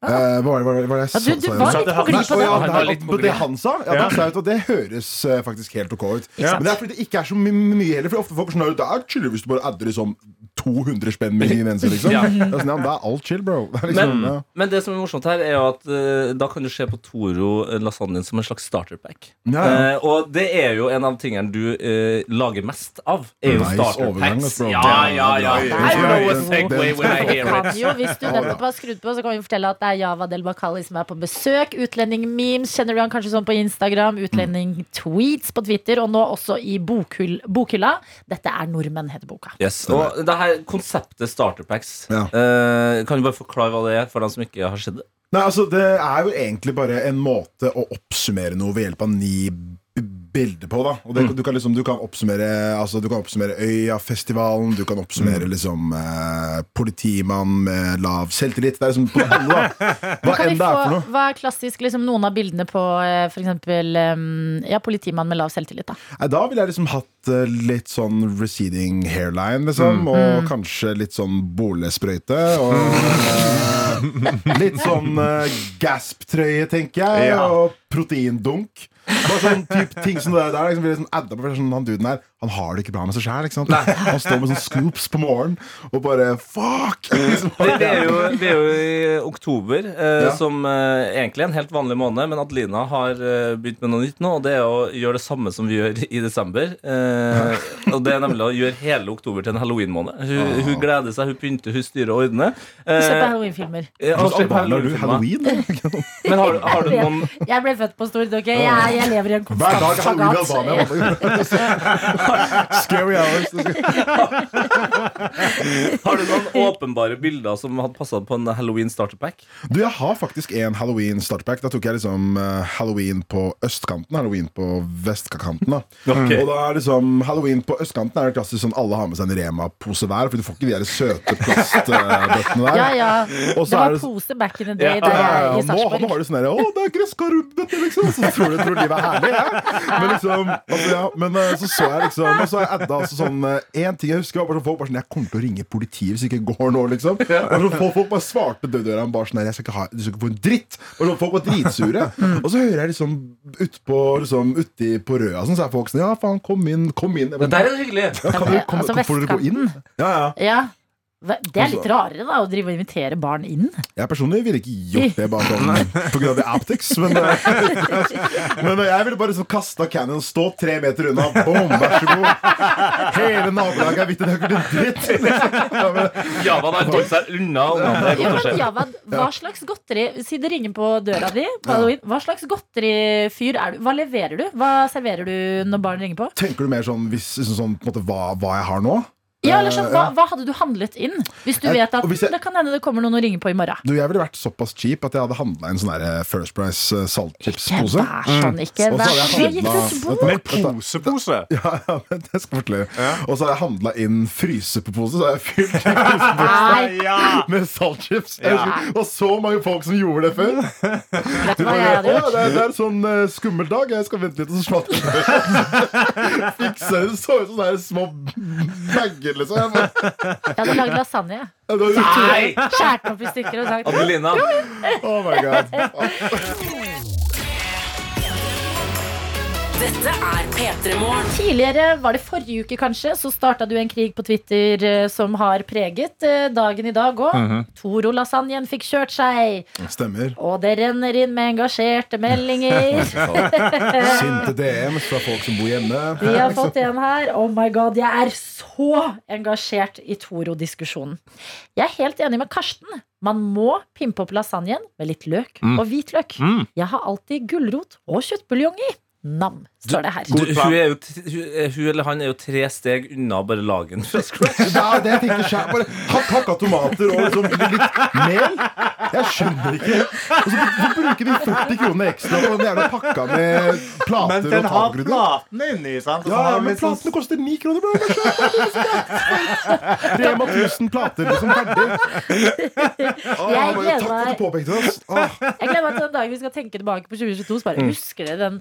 Eh, Hva var det- hva var det hva var det jeg
Ja, du,
sa-
du var
sa?
Så
litt
det
på
hadde-
Nei,
glid på
å ja,
det.
Han
det,
var
er-
litt på
det, det han sa, ja, det,
Ja.
sa jeg ut, og det høres eh, faktisk helt ok ut.
Ja.
Men det er fordi det ikke er så my- mye heller. For ofte folk er sånn, Det er chill hvis du bare adder liksom 200 spenn med
*laughs*
ingredienser. Liksom.
Ja.
Det, er sånn, ja, men det er alt chill, bro. Det er liksom,
Men,
ja.
men det som er morsomt her, er jo at eh, da kan du se på Toro eh, lasagnen som en slags starterpack.
Ja, ja.
Eh, og det er jo en av tingene du eh, lager mest av. Er jo
Nice overgang,
starterpacks.
ass, bro.
Ja, ja, ja.
Det
I
er bra.
know a
Den-
segue
den-
when I hear
Kan
it.
jo, hvis du nettopp har skrudd på, så kan vi fortelle at det er Java Del Bakali som er på besøk. Utlending-memes kjenner du han kanskje sånn på Instagram. Utlending-tweets på Twitter, og nå også i bokhyll, Bokhylla. Dette er nordmenn, heter boka.
Yes, og det her konseptet starterpacks
Ja.
eh, Kan du bare forklare hva det er for dem som ikke har sett det?
Nei, altså Det er jo egentlig bare en måte å oppsummere noe ved hjelp av ni b- bilder på. da Og det, du, kan liksom, du kan oppsummere Altså du kan oppsummere Øyafestivalen, du kan oppsummere liksom eh, politimann med lav selvtillit. Det er liksom på alle, da. Hva
Kan vi
enn det er for
få,
noe.
hva er klassisk liksom, noen av bildene på eh, f.eks. Um, ja, politimann med lav selvtillit? da
Nei, da ville jeg liksom hatt eh, litt sånn receding hairline, liksom. Og kanskje litt sånn bolesprøyte. Og eh, litt sånn eh, gasp-trøye, tenker jeg.
Ja.
Og proteindunk. Bare sånn typ ting som det der liksom, blir liksom adda på for sånn, Han duden her Han har det ikke bra med seg sjæl. Han står med sånn scoops på morgenen og bare fuck! Liksom.
Vi vi er jo, vi er jo i oktober, eh,
Ja.
som eh, egentlig er en helt vanlig måned. Men Adelina har eh, begynt med noe nytt nå, og det er å gjøre det samme som vi gjør i desember. Eh, og det er nemlig å gjøre hele oktober til en halloween-måned. Hun,
Ah.
hun gleder seg, hun pynter, hun styrer og ordner. Eh,
Se på halloweenfilmer.
eh, og
Hvordan
se på
anbefaler du
halloween-filmer.
halloween? da?
Men har, du- har du noen
Jeg ble født på Stord, ok? Jeg, jeg lever i en
Hver
konstant
dag er halloween i Albania.
spagat.
mann. Scary hours.
Har du noen åpenbare bilder som hadde passa på en halloween starterpack?
Du, jeg har faktisk en halloween startpack. Da tok jeg liksom eh, halloween på østkanten, halloween på vestkanten. da
Ok.
Og da er liksom Halloween på østkanten er det klassisk sånn alle har med seg en Rema-pose hver, for du får ikke de der søte plastbøttene der.
Ja, ja.
Og
Det
så er
var
det
pose back in the day
Ja,
der
ja,
jeg
ja,
er i
nå, nå
Sarpsborg.
har du sånn der, Å, det er gresskarubete, liksom! Så tror du tror livet er herlig. Ja. Men liksom altså, ja, Men eh, så så jeg liksom Og så har jeg adda altså, sånn én ting jeg husker. var Bare sånn, folk bare sånn Jeg kommer til å ringe politiet hvis ikke jeg går nå, liksom. Og så folk, folk bare svarte døddøra bare sånn «Nei, Jeg skal ikke ha Du skal ikke få en dritt! Og så folk var dritsure. Og så hører jeg liksom utpå liksom, uti på Røa sånn, så er folk sånn Ja, faen, kom inn, kom inn. Jeg
Det
bare,
der er hyggelig!
ja, kan du, kom,
Altså,
kom, får dere gå inn? Ja, ja.
Ja. Hva- Det er litt rarere, da, å drive og invitere barn inn.
Jeg personlig ville ikke gjort det bare sånn pga. the *laughs* optics, men, men jeg ville bare sånn kasta Cannon, stå tre meter unna, bom, vær så god. Hele nabolaget er hvitt, det er ikke noe dritt.
Java har holdt seg unna ungene. Det
Ja,
er godt å se.
men Javad, hva
Ja.
slags godteri Si det ringer på døra di på Halloween. Hva slags godterifyr er du? Hva leverer du? Hva serverer du når barn ringer på?
Tenker du mer sånn, hvis, sånn på en måte, hva, hva jeg har nå?
Ja, eller sånn,
Eh,
hva, hva hadde du handlet inn? Hvis du
Jeg-
vet at
og hvis jeg-
det kan hende det kommer noen og ringer på i morgen.
Du, Jeg ville vært såpass cheap at jeg hadde handla en sånn der First Price
Ikke
eh, saltchipspose.
vær sånn, ikke
Og så
vær
hadde
så
jeg handlet-
gitt
Dette-
Men posepose?
Ja, ja, men det skal jeg fortelle. Og så har jeg handla inn frysepose, så har jeg fylt *laughs* frysepose
Ja!
med saltchips.
Ja.
Og så mange folk som gjorde det før.
Vet du hva
Bare,
jeg hadde
«Å,
gjort?
det, er, det er sånn eh, skummel dag. Jeg skal vente litt, og så smatter det. *laughs* Fikk selv så ut som sånne små bager, liksom. Jeg bare,
Jeg hadde lagd lasagne. jeg.
«Ja, det er utrolig.»
Skjært den opp i stykker og sagt
Adelina,
Oh my god.
Dette er P3 Morgen.
Tidligere, var det forrige uke kanskje, så starta du en krig på Twitter eh, som har preget eh, dagen i dag òg.
Mhm.
Toro Lasagnen fikk kjørt seg,
Stemmer.
og det renner inn med engasjerte
*laughs*
meldinger.
Sinte DMs fra folk som bor hjemme.
Vi har fått en her. Oh my god, jeg er så engasjert i Toro-diskusjonen. Jeg er helt enig med Karsten. Man må pimpe opp lasagnen med litt løk
Mm.
og hvitløk. Jeg har alltid gulrot og kjøttbuljong i. Nam, står det her.
du, hun, er jo, t- hun, er- hun eller han er jo tre steg unna bare lagen fra scratch.
Ja, det jeg tenker skjær, bare ha hakka tomater og liksom litt mel. Jeg skjønner ikke. Og så så bruker de 40 kroner ekstra på den jævla pakka med
Men
plater
den
og
har
takgruder.
platene inni, sant? Og så
Ja,
har
ja,
den
men
litt sånn-
platene koster ni kroner, bro! Bare kjøp det, du skal. Rema 1000 plater, liksom ferdig. Å,
Jeg
bare,
gleder
takk for at
meg.
du påpekte det. ass. Åh,
Jeg gleder meg til den dagen vi skal tenke tilbake på 2022. Så
Mm.
bare husker dere den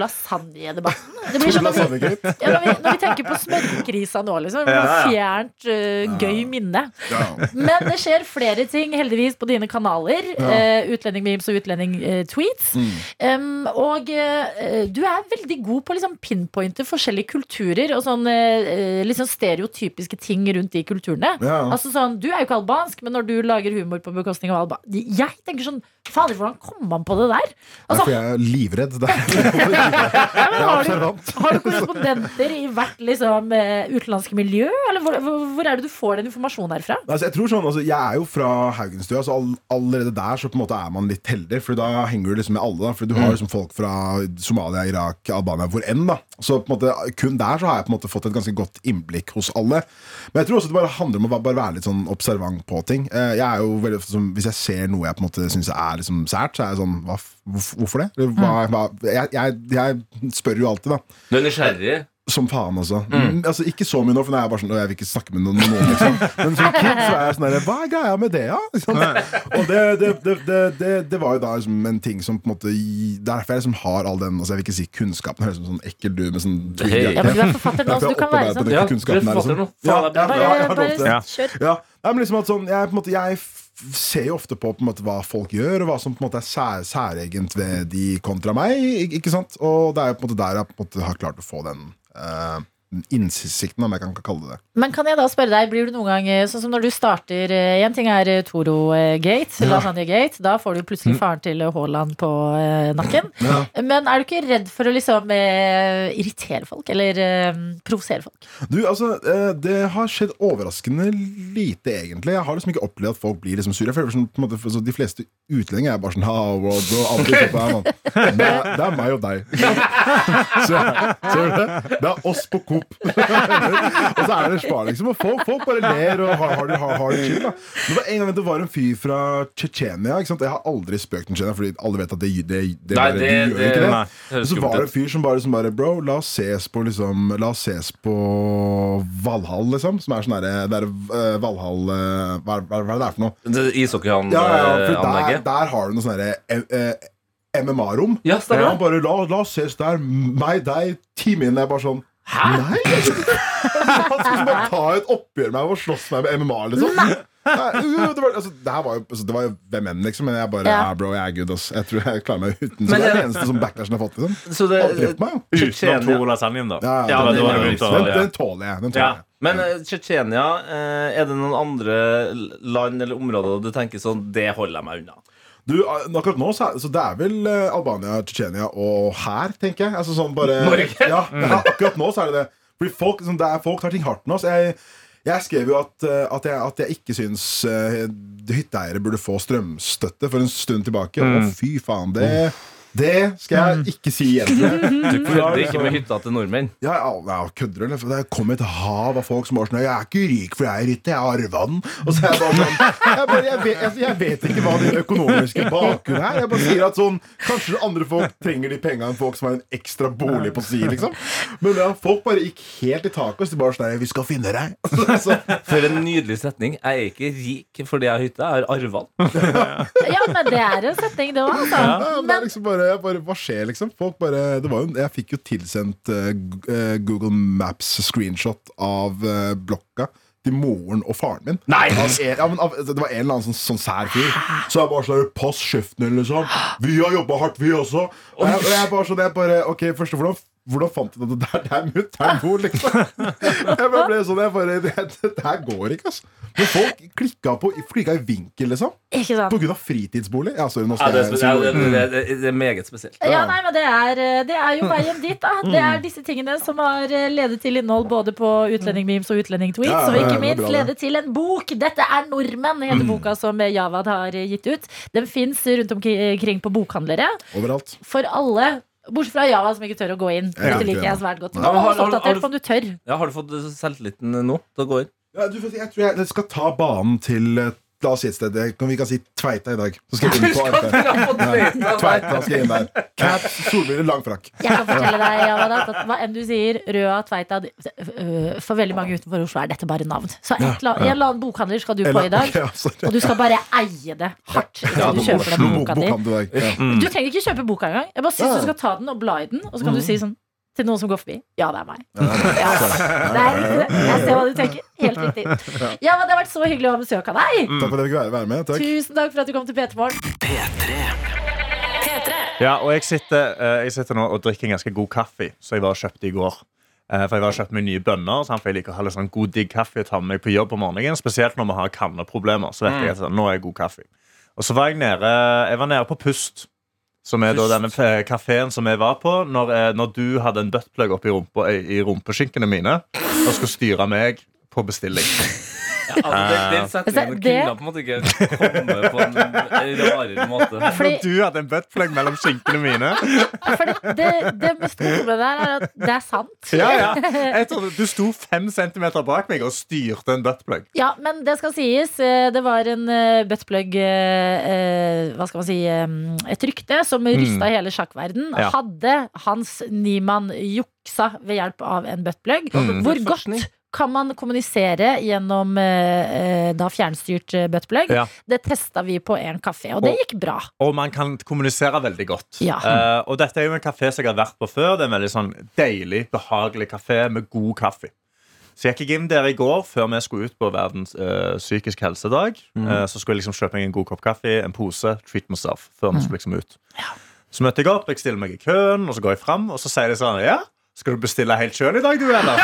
Toro-lasagne-debatten? Det blir
Tore
sånn når vi,
Lasagnegrip.
ja, når, vi, når vi tenker på smørkrisa nå, liksom. Det blir Fjernt, eh, gøy minne.
Ja.
Men det skjer flere ting, heldigvis, på dine kanaler.
Ja. Mm.
Eh, Utlending-memes og utlending-tweets. Um, og eh, du er veldig god på å liksom, pinpointe forskjellige kulturer og sånn eh, liksom stereotypiske ting rundt de kulturene.
Ja.
Altså sånn, Du er jo ikke albansk, men når du lager humor på bekostning av alba Jeg tenker sånn Fader, hvordan kom man på det der?
Derfor
Altså,
jeg er livredd. Det er-
ja, men
Jeg er
har, du,
observant.
har du korrespondenter i hvert liksom, eh, utenlandske miljø? Eller hvor, hvor, hvor er det du får den informasjonen herfra?
Altså, jeg, tror sånn, altså, jeg er jo fra Haugenstua, så all, allerede der så på en måte er man litt heldig. For da henger du liksom med alle. Da, for du har liksom folk fra Somalia, Irak, Albania, hvor enn. da Så på en måte, kun der så har jeg på en måte fått et ganske godt innblikk hos alle. Men jeg tror også det bare handler om å bare være litt sånn observant på ting. Eh, Jeg er jo veldig ofte som, Hvis jeg ser noe jeg på en måte syns er liksom sært, så er jeg sånn hva, f- hvorf- Hvorfor det? Eller Hva, hva, jeg, jeg, jeg spør jo alltid, da.
Du er nysgjerrig.
Som faen, altså. Mm. altså. Ikke så mye nå, for nå er jeg bare sånn «Å, Jeg vil ikke snakke med noen. noen liksom. Men som kid så er jeg sånn der, Hva er greia med det, da? Sånn. Og det, det, det, det, det, det var jo da liksom en ting som på en måte gi- Derfor jeg liksom har all den altså Jeg vil ikke si kunnskapen. Høres ut som sånn ekkel du med sånn
Hei.
Ja, men Du er forfatter nå, så du kan være sånn.
Ja, du er
kunnskapen her,
forfatter
liksom.
nå. Faen,
Ja,
jeg-
ja,
Bare,
jeg har lov til det.
bare kjør.
Ja, Nei, men liksom at sånn, jeg, på en måte, jeg f- ser jo ofte på, på en måte, hva folk gjør, og hva som på en måte er sær, særegent ved de kontra meg. ik- Ikke sant? Og det er jo på en måte der jeg på en måte har klart å få den eh, innsikten, om jeg kan kalle det det.
Men kan jeg da spørre deg, blir du noen gang eh, sånn som når du starter eh, En ting er eh, Toro eh, Gate, Lasagne Gate. Da får du plutselig faren til eh, Haaland på eh, nakken.
Mm. *laughs* Ja.
Men er du ikke redd for å liksom eh, irritere folk, eller eh, provosere folk?
Du, altså, eh, Det har skjedd overraskende lite, egentlig. Jeg har liksom ikke opplevd at folk blir liksom sure. Jeg føler som, på en måte, for, så De fleste utlendinger er bare sånn «Ha, bro, bro, aldri sett deg, mann». det, er- det er meg og deg. Så, ser du det? Det er oss på Coop. og så er det spar, liksom. Og folk, folk bare ler og har, har, det- har, har det chill. da Det var en gang det var en fyr fra Tsjetsjenia. ikke sant? Jeg har aldri spøkt med Tsjetsjenia, fordi alle vet at det, det,
Nei,
det, bare-
det,
de gjør
det,
ikke det.
nei.
Og så var det en fyr som bare, som bare Bro, la oss ses på liksom La oss ses på Valhall, liksom. Som er sånn derre der, Valhall eh, hva, er- hva er hva er det det er for noe?
Det-
Ja, ja, ja, for der,
Ishockeyanlegget.
der har du noe sånn derre MMA-rom.
Ja,
Og
stemmer
han bare la, la oss ses der. Meg, deg, timen. Jeg bare sånn Hæ? Nei! *laughs* jeg- Han skulle bare ta et oppgjør med meg og slåss med meg med MMA, liksom. Nei, jo, det, var, altså, det her var jo altså, Det var jo hvem enn, liksom. Men jeg bare
Ja.
ja. bro, jeg er good, ass. Jeg tror jeg klarer meg uten. Så
Men
det er
det-
den eneste som backlashen har fått. Liksom.
Så det-
Han drepte meg, jo.
Tsjetsjenia-
Ja, ja,
men
den,
det var jo
den,
liksom-
den, den tåler jeg. Den tåler
Ja.
jeg.
Men eh, Tsjetsjenia, eh, er det noen andre land eller områder du tenker sånn Det holder jeg meg unna.
Du, eh, akkurat nå, så, er- så det er vel eh, Albania, Tsjetsjenia og her, tenker jeg. Altså sånn bare
Norge?
Ja, ja, akkurat nå så er det det. Fordi folk, liksom, det er, folk tar ting hardt nå. Så jeg, jeg skrev jo at, eh, at, jeg, at jeg ikke syns eh, hytteeiere burde få strømstøtte for en stund tilbake.
Mm.
Å, fy faen. Det, det skal jeg ikke si igjen.
Du kødder ikke med hytta til nordmenn?
Mm. Ja, ja, ja, kødder du? eller? For Det kom et hav av folk som var sånn Jeg er ikke rik for jeg er hytte, jeg arva den. Og så er jeg bare sånn jeg, bare, jeg, vet, jeg, jeg vet ikke hva den økonomiske bakgrunnen er. Jeg bare sier at sånn Kanskje andre folk trenger de pengene enn folk som har en ekstra bolig på si, liksom. Men ja, folk bare gikk helt i taket. Så de bare sånn «Nei, Vi skal finne deg.
For en nydelig setning. Jeg er ikke rik fordi jeg har hytte, jeg har arva den.
Ja, men det er en setning, det altså. òg.
Ja, men det er liksom bare, jeg bare, hva skjer, liksom? Folk bare, det var jo, jeg fikk jo tilsendt eh, Gu- eh, Google Maps-screenshot av eh, blokka til moren og faren min.
Nei!
Av, en- ja, men av, det var en eller annen sånn, sånn sær fyr. Så jeg bare sånn Pass kjeften din, liksom. Vi har jobba hardt, vi også. Og jeg, og jeg bare sånn, jeg bare Ok, først og fremst, hvordan fant du det der? Det er mutter'n bor, liksom. *laughs* Jeg bare ble sånn, jeg bare Det, det der går ikke, altså. Men folk klikka, på, klikka i vinkel, liksom.
Ikke sant?
På grunn av fritidsbolig. Ja, sorry, nå
Ja,
skal
det, er
jeg- Mm.
spesielt, ja, det, det, det, det er meget spesielt.
Ja, nei, men det er, eh, det er jo veien dit, da. Det er disse tingene som har eh, ledet til innhold både på Utlendingmemes og Utlendingtweets,
Ja, ja,
og
ja, det
ikke
er
minst
bra, det.
ledet til en bok. 'Dette er nordmenn', heter boka som eh, Javad har gitt ut. Den fins rundt omkring på bokhandlere
Overalt.
for alle. Bortsett fra Java, som ikke tør å gå inn.
Ja.
Dette liker jeg svært godt.
Ja,
Men
men har-
hold oss
har- har
oppdatert
du-
på om du tør.
Ja, har du fått selvtilliten nå til å gå inn?
Ja, du, jeg tror jeg, jeg skal ta banen til eh, La oss si et sted jeg- Vi kan si Tveita i dag. Så skal jeg inn på RP. Ja, Tveita skal jeg inn der. Caps, solbriller, lang frakk.
Jeg kan fortelle deg, Javad, at hva enn du sier, Røa, Tveita øh, For veldig mange utenfor Oslo er dette bare navn. Så et
Ja,
eller annet-
ja.
en eller annen bokhandler skal du på
Eller-
i dag,
ok, ja, sorry.
og du skal bare eie det hardt. Når
Ja,
du kjøper den
Oslo
boka di.
bokhandel Mm. i dag. Ja.
Du trenger ikke kjøpe boka engang. Jeg bare
Ja,
synes
ja.
du skal ta den og bla i den, og så kan du si sånn til noen som går forbi. Ja, det er meg.
Mm. Ja, det er-
Ja, det er riktig. Jeg ser hva du tenker. Helt riktig.
Ja. Mm.
Ja, men Det har vært så hyggelig å ha besøk av deg.
Takk for at jeg fikk være- være med. Takk.
Tusen takk for at du kom til P3 Morgen.
Ja, og jeg sitter, eh, jeg sitter nå og drikker en ganske god kaffe, som jeg var og kjøpte i går. Eh, For jeg var og kjøpte meg nye bønner, sant, for jeg liker å ha litt sånn god digg kaffe og ta med meg på jobb om morgenen. Spesielt når vi har kanneproblemer. Så vet
Mm.
jeg at sånn, nå er jeg god kaffe. Og så var jeg nede, jeg var nede på Pust, som er da denne eh, kafeen som jeg var på når, eh, når du hadde en buttplug oppi rumpa, eh, i i rumpeskinkene mine og skulle styre meg på bestilling.
den setningen
Altså, det-
kunne på en måte ikke komme på en rarere måte.
Når du hadde en buttplug mellom skinkene mine.
Det, det mest morsomme med det her er at det er sant.
Ja, ja. Jeg trodde du sto fem centimeter bak meg og styrte en buttplug.
Ja, men det skal sies. eh, Det var en eh, buttplug eh, eh, Hva skal man si eh, Et rykte som
Mm.
rysta hele sjakkverden.
Ja.
Hadde Hans Niemann juksa ved hjelp av en buttplug?
Mm.
Hvor godt kan man kommunisere gjennom eh, eh, da fjernstyrt eh, buttplug?
Ja.
Det testa vi på en kafé, og det
Og-
gikk bra.
Og man kan kommunisere veldig godt.
Ja.
Eh, og dette er jo en kafé som jeg har vært på før. Det er en veldig sånn deilig, behagelig kafé med god kaffe. Så jeg gikk inn der i går før vi skulle ut på verdens eh, psykisk helsedag. Eh, så skulle jeg liksom kjøpe meg en god kopp kaffe, en pose, treat myself. Før vi skulle liksom ut. Så møtte jeg opp, jeg stiller meg i køen, og så går jeg fram, og så sier de sånn Ja, skal du bestille helt sjøl i dag, du, eller?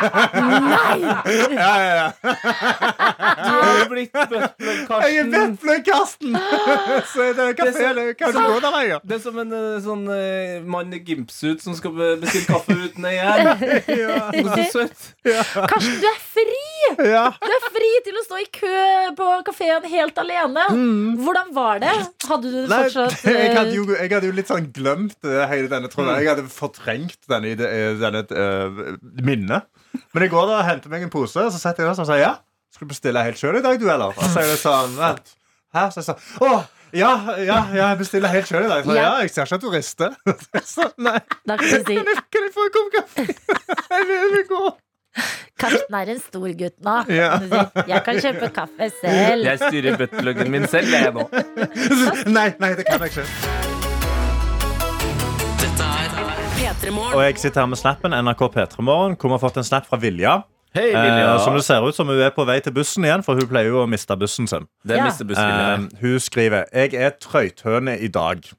*laughs* ja, ja, ja.
Du er blitt eh, buttplug-Karsten.
Jeg er buttplug-Karsten! *laughs* Så det er kafé, det kan du gå der, jeg.
Det er som en eh, sånn eh, mann i gimpsuit som skal be- bestille kaffe uten ei her.
Ja.
Det er så søtt.
Karsten, du er fri!
Ja.
Du er fri til å stå i kø på kafeen helt alene. Hvordan var det? Hadde du det
Mm. Nei,
fortsatt
*laughs* jeg, hadde
eh, Mm.
jo, jeg hadde jo litt sånn glemt eh, hele denne tråden. Jeg hadde fortrengt denne, ide- eh, denne eh, minnet. Men jeg går da og henter meg en pose, og så setter jeg den sånn og sier ja. Skal du bestille helt sjøl i dag, du, eller? Og så er det sånn vent. Hæ? Så jeg sa å, ja, ja, ja, jeg bestiller helt sjøl i dag. Så,
Ja.
ja, jeg ser ikke at du rister. *laughs* Så, nei.
Da kan du si
*laughs* Kan jeg få en kopp kaffe? *laughs* Jeg vil, jeg vil gå. *laughs*
Karsten er en stor gutt nå.
Ja.
Kan du si, Jeg kan kjøpe kaffe selv.
Jeg styrer buttpluggen min selv, jeg nå.
Nei, nei, det kan jeg ikke.
Dette er P3.
Og jeg sitter her med snappen NRK P3morgen, hvor vi har fått en snap fra Vilja.
Hei, Vilja.
Eh, som det ser ut som hun er på vei til bussen igjen, for hun pleier jo å miste bussen sin.
Det er Ja. mistebussvilja.
Eh, hun skriver Jeg er trøythøne i dag.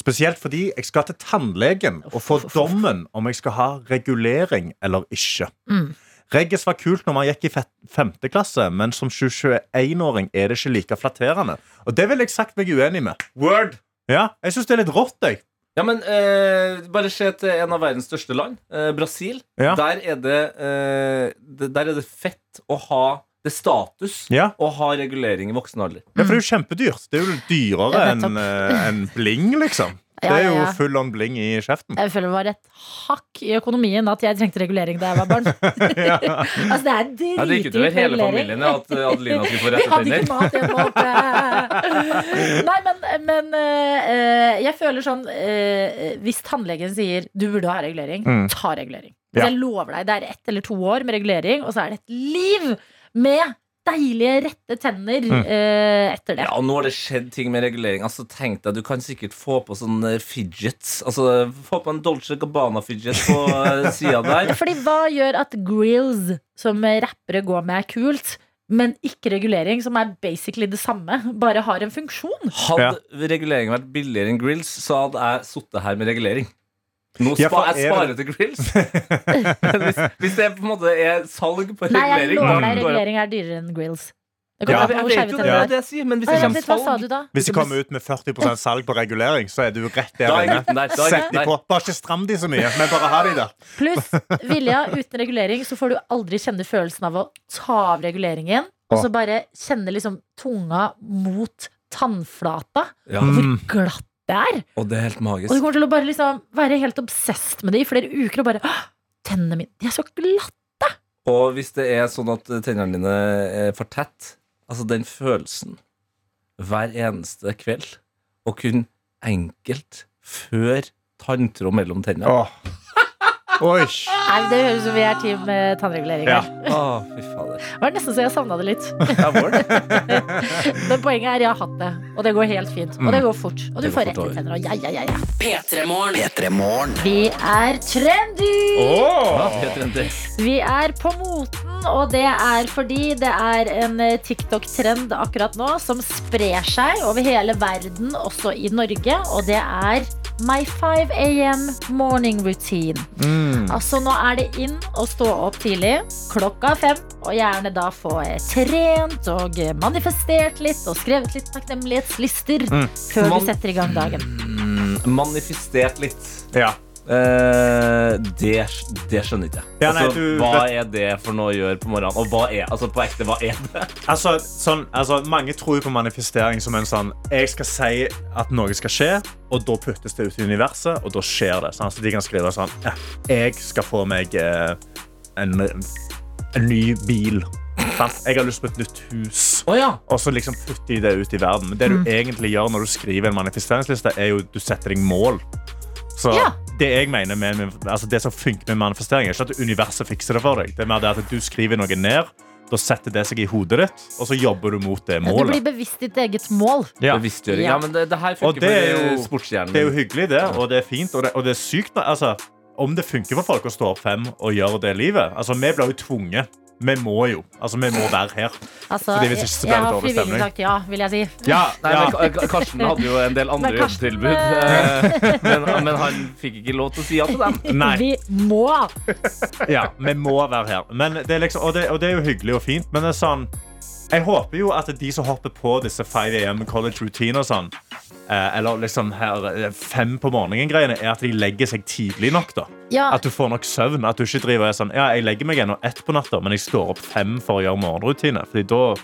Spesielt fordi jeg skal til tannlegen og få dommen om jeg skal ha regulering eller ikke.
Mm.
Reggis var kult når man gikk i fet- femte klasse, men som 21-åring er det ikke like flatterende. Og det vil jeg sagt meg uenig med. Word! Ja, jeg syns det er litt rått, jeg.
Ja, men eh, bare se til en av verdens største land, eh, Brasil.
Ja.
Der, er det, eh, det, der er det fett å ha det er status
Ja.
å ha regulering i voksen alder.
Ja, for det er jo kjempedyrt. Det er jo dyrere
Mm. Ja, nettopp.
enn eh, enn bling, liksom. Det
Ja,
er
ja,
jo
ja.
full on bling i kjeften.
Jeg føler det var et hakk i økonomien at jeg trengte regulering da jeg var barn. *laughs* altså, det er
Ja, det gikk
dritdyrt
utover
med
hele
regulering.
familien ja, at
*laughs*
eh, Adelina skulle få
Vi
rette
hadde ikke
tenner.
mat hjemme hos eh. Nei, men, men eh, jeg føler sånn eh, Hvis tannlegen sier du burde ha regulering,
Mm.
ta regulering.
Ja.
Altså, jeg lover deg, Det er ett eller to år med regulering, og så er det et liv med deilige, rette tenner
Mm.
eh, etter det.
Ja, og nå har det skjedd ting med regulering. Altså, tenk deg, Du kan sikkert få på sånn eh, fidgets. Altså, Få på en Dolce Gabbana-fidget på eh, sida der.
Fordi hva gjør at grills, som rappere går med, er kult, men ikke regulering, som er basically det samme, bare har en funksjon?
Hadde reguleringen vært billigere enn grills, så hadde jeg sittet her med regulering. Nå
Ja, for
spa, jeg
er
sparer
det-
til
*laughs*
grills. hvis, hvis det på en måte er salg på
Nei, jeg
regulering
lover deg,
da går jeg-
regulering er dyrere enn grills. Det
Ja,
kommer an på
jeg
hvor
vet
skeive
jo det,
tenner
det er
du
det
er.
jeg sier, men hvis
Å,
det
ja,
kommer
vent, hva sa
salg-
du da?
Hvis de kommer ut med 40 salg på regulering, så er du rett der
Da er jeg
inne.
uten der, da er jeg
Sett de
uten
på. Bare ikke stram de så mye, men bare ha de der.
Pluss Vilja, uten regulering så får du aldri kjenne følelsen av å ta av reguleringen. Og så
Åh.
bare kjenne liksom tunga mot tannflata.
Ja.
Hvor
Mm.
glatt det er.
Og det er helt
Og du
magisk.
kommer til å bare liksom være helt obsessed med det i flere uker og bare «Åh, Tennene mine, de er så glatte!
Og hvis det er sånn at tennene dine er for tett, altså den følelsen hver eneste kveld, og kun enkelt før tanntråd mellom tennene
Oi.
Nei, Det høres ut som vi er team eh, tannregulering
Ja.
her.
Å, fy fader.
Det var nesten så jeg savna det litt. *laughs* Men poenget er jeg har hatt det, og det går helt fint. Og det
Mm.
går fort. Og du
Det går
får
fort
rette
over.
tenner og ja, ja, ja. ja.
P3morgen.
Vi er trendy!
Åh! Ja, trendy.
Vi er på moten, og det er fordi det er en eh, TikTok-trend akkurat nå som sprer seg over hele verden, også i Norge, og det er My 5 AM morning routine.
Mm.
Altså, nå er det inn å stå opp tidlig, klokka fem, og gjerne da få eh, trent og eh, manifestert litt og skrevet litt takknemlighetslister
Mm.
før
Man-
du setter i gang dagen.
Mm, manifestert litt. Eh, det, det skjønner ikke jeg.
Ja, nei,
altså,
du-
hva er det for noe å gjøre på morgenen? Og hva er, altså, på ekte, hva er det?
Altså, sånn, altså, mange tror jo på manifestering som en sånn Jeg skal si at noe skal skje, og da puttes det ut i universet, og da skjer det. Sånn, så de kan skrive sånn «Ja, Jeg skal få meg eh, en, en ny bil. Sant? Jeg har lyst på et nytt hus. Og så liksom putter de det ut i verden. Men det du
Mm.
egentlig gjør når du skriver en manifesteringsliste, er jo at du setter deg mål. Så
Ja.
det jeg mener med, med- altså det som funker med manifestering, er ikke at universet fikser det for deg. Det er mer det at du skriver noe ned, da setter det seg i hodet ditt, og så jobber du mot det
Ja, Du blir
målet.
bevisst ditt eget mål.
Ja.
*laughs* Bevisstgjøring. Ja, men det, det her
Og
funker
det er,
for, eh,
jo,
sportshjernen.
det er jo hyggelig, det, og det er fint, og det, og det er sykt. da. Altså, om det funker for folk å stå opp fem og gjøre det livet Altså, vi blir jo tvunget. Vi må jo. Altså, vi må være her.
Altså,
Fordi
jeg,
hvis
jeg
ikke så blir det
har
dårlig
frivillig
stemning.
sagt ja, vil jeg si.
Ja,
Nei,
ja.
men Ka- Ka-
*laughs*
Karsten hadde jo en del andre
Men Karsten,
jobbtilbud, eh, men, men han fikk ikke lov til å si ja til dem.
Vi må!
*laughs* ja, vi må være her. Men det er liksom, og, det, og det er jo hyggelig og fint, men det er sånn jeg håper jo at de som hopper på disse 5 AM college routine og sånn, eh, eller liksom her eh, fem på morgenen-greiene, er at de legger seg tidlig nok. da.
Ja.
At du får nok søvn. At du ikke driver og er sånn Ja, jeg legger meg ennå ett på natta, men jeg står opp fem for å gjøre morgenrutine. Fordi da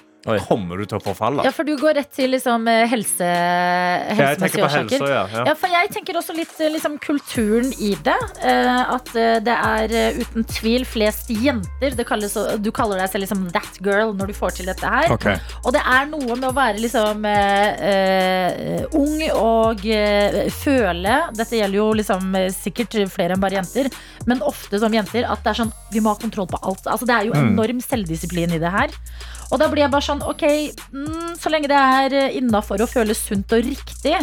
kommer du til å forfalle.
Ja, for du går rett til liksom, eh, helse,
jeg
helsemessige
tenker på helse,
årsaker.
ja, ja.
for jeg tenker også litt eh, liksom, kulturen i det. Eh, at eh, det er eh, uten tvil flest jenter. Det kalles, du kaller deg selv liksom that girl når du får til dette her.
Ok.
Og det er noe med å være liksom eh, eh, ung og eh, føle Dette gjelder jo liksom eh, sikkert flere enn bare jenter, men ofte som jenter at det er sånn Vi må ha kontroll på alt. Altså, det er jo
Mm.
enorm selvdisiplin i det her. eh, Og da blir jeg bare sånn OK, mm, så lenge det er innafor å føles sunt og riktig,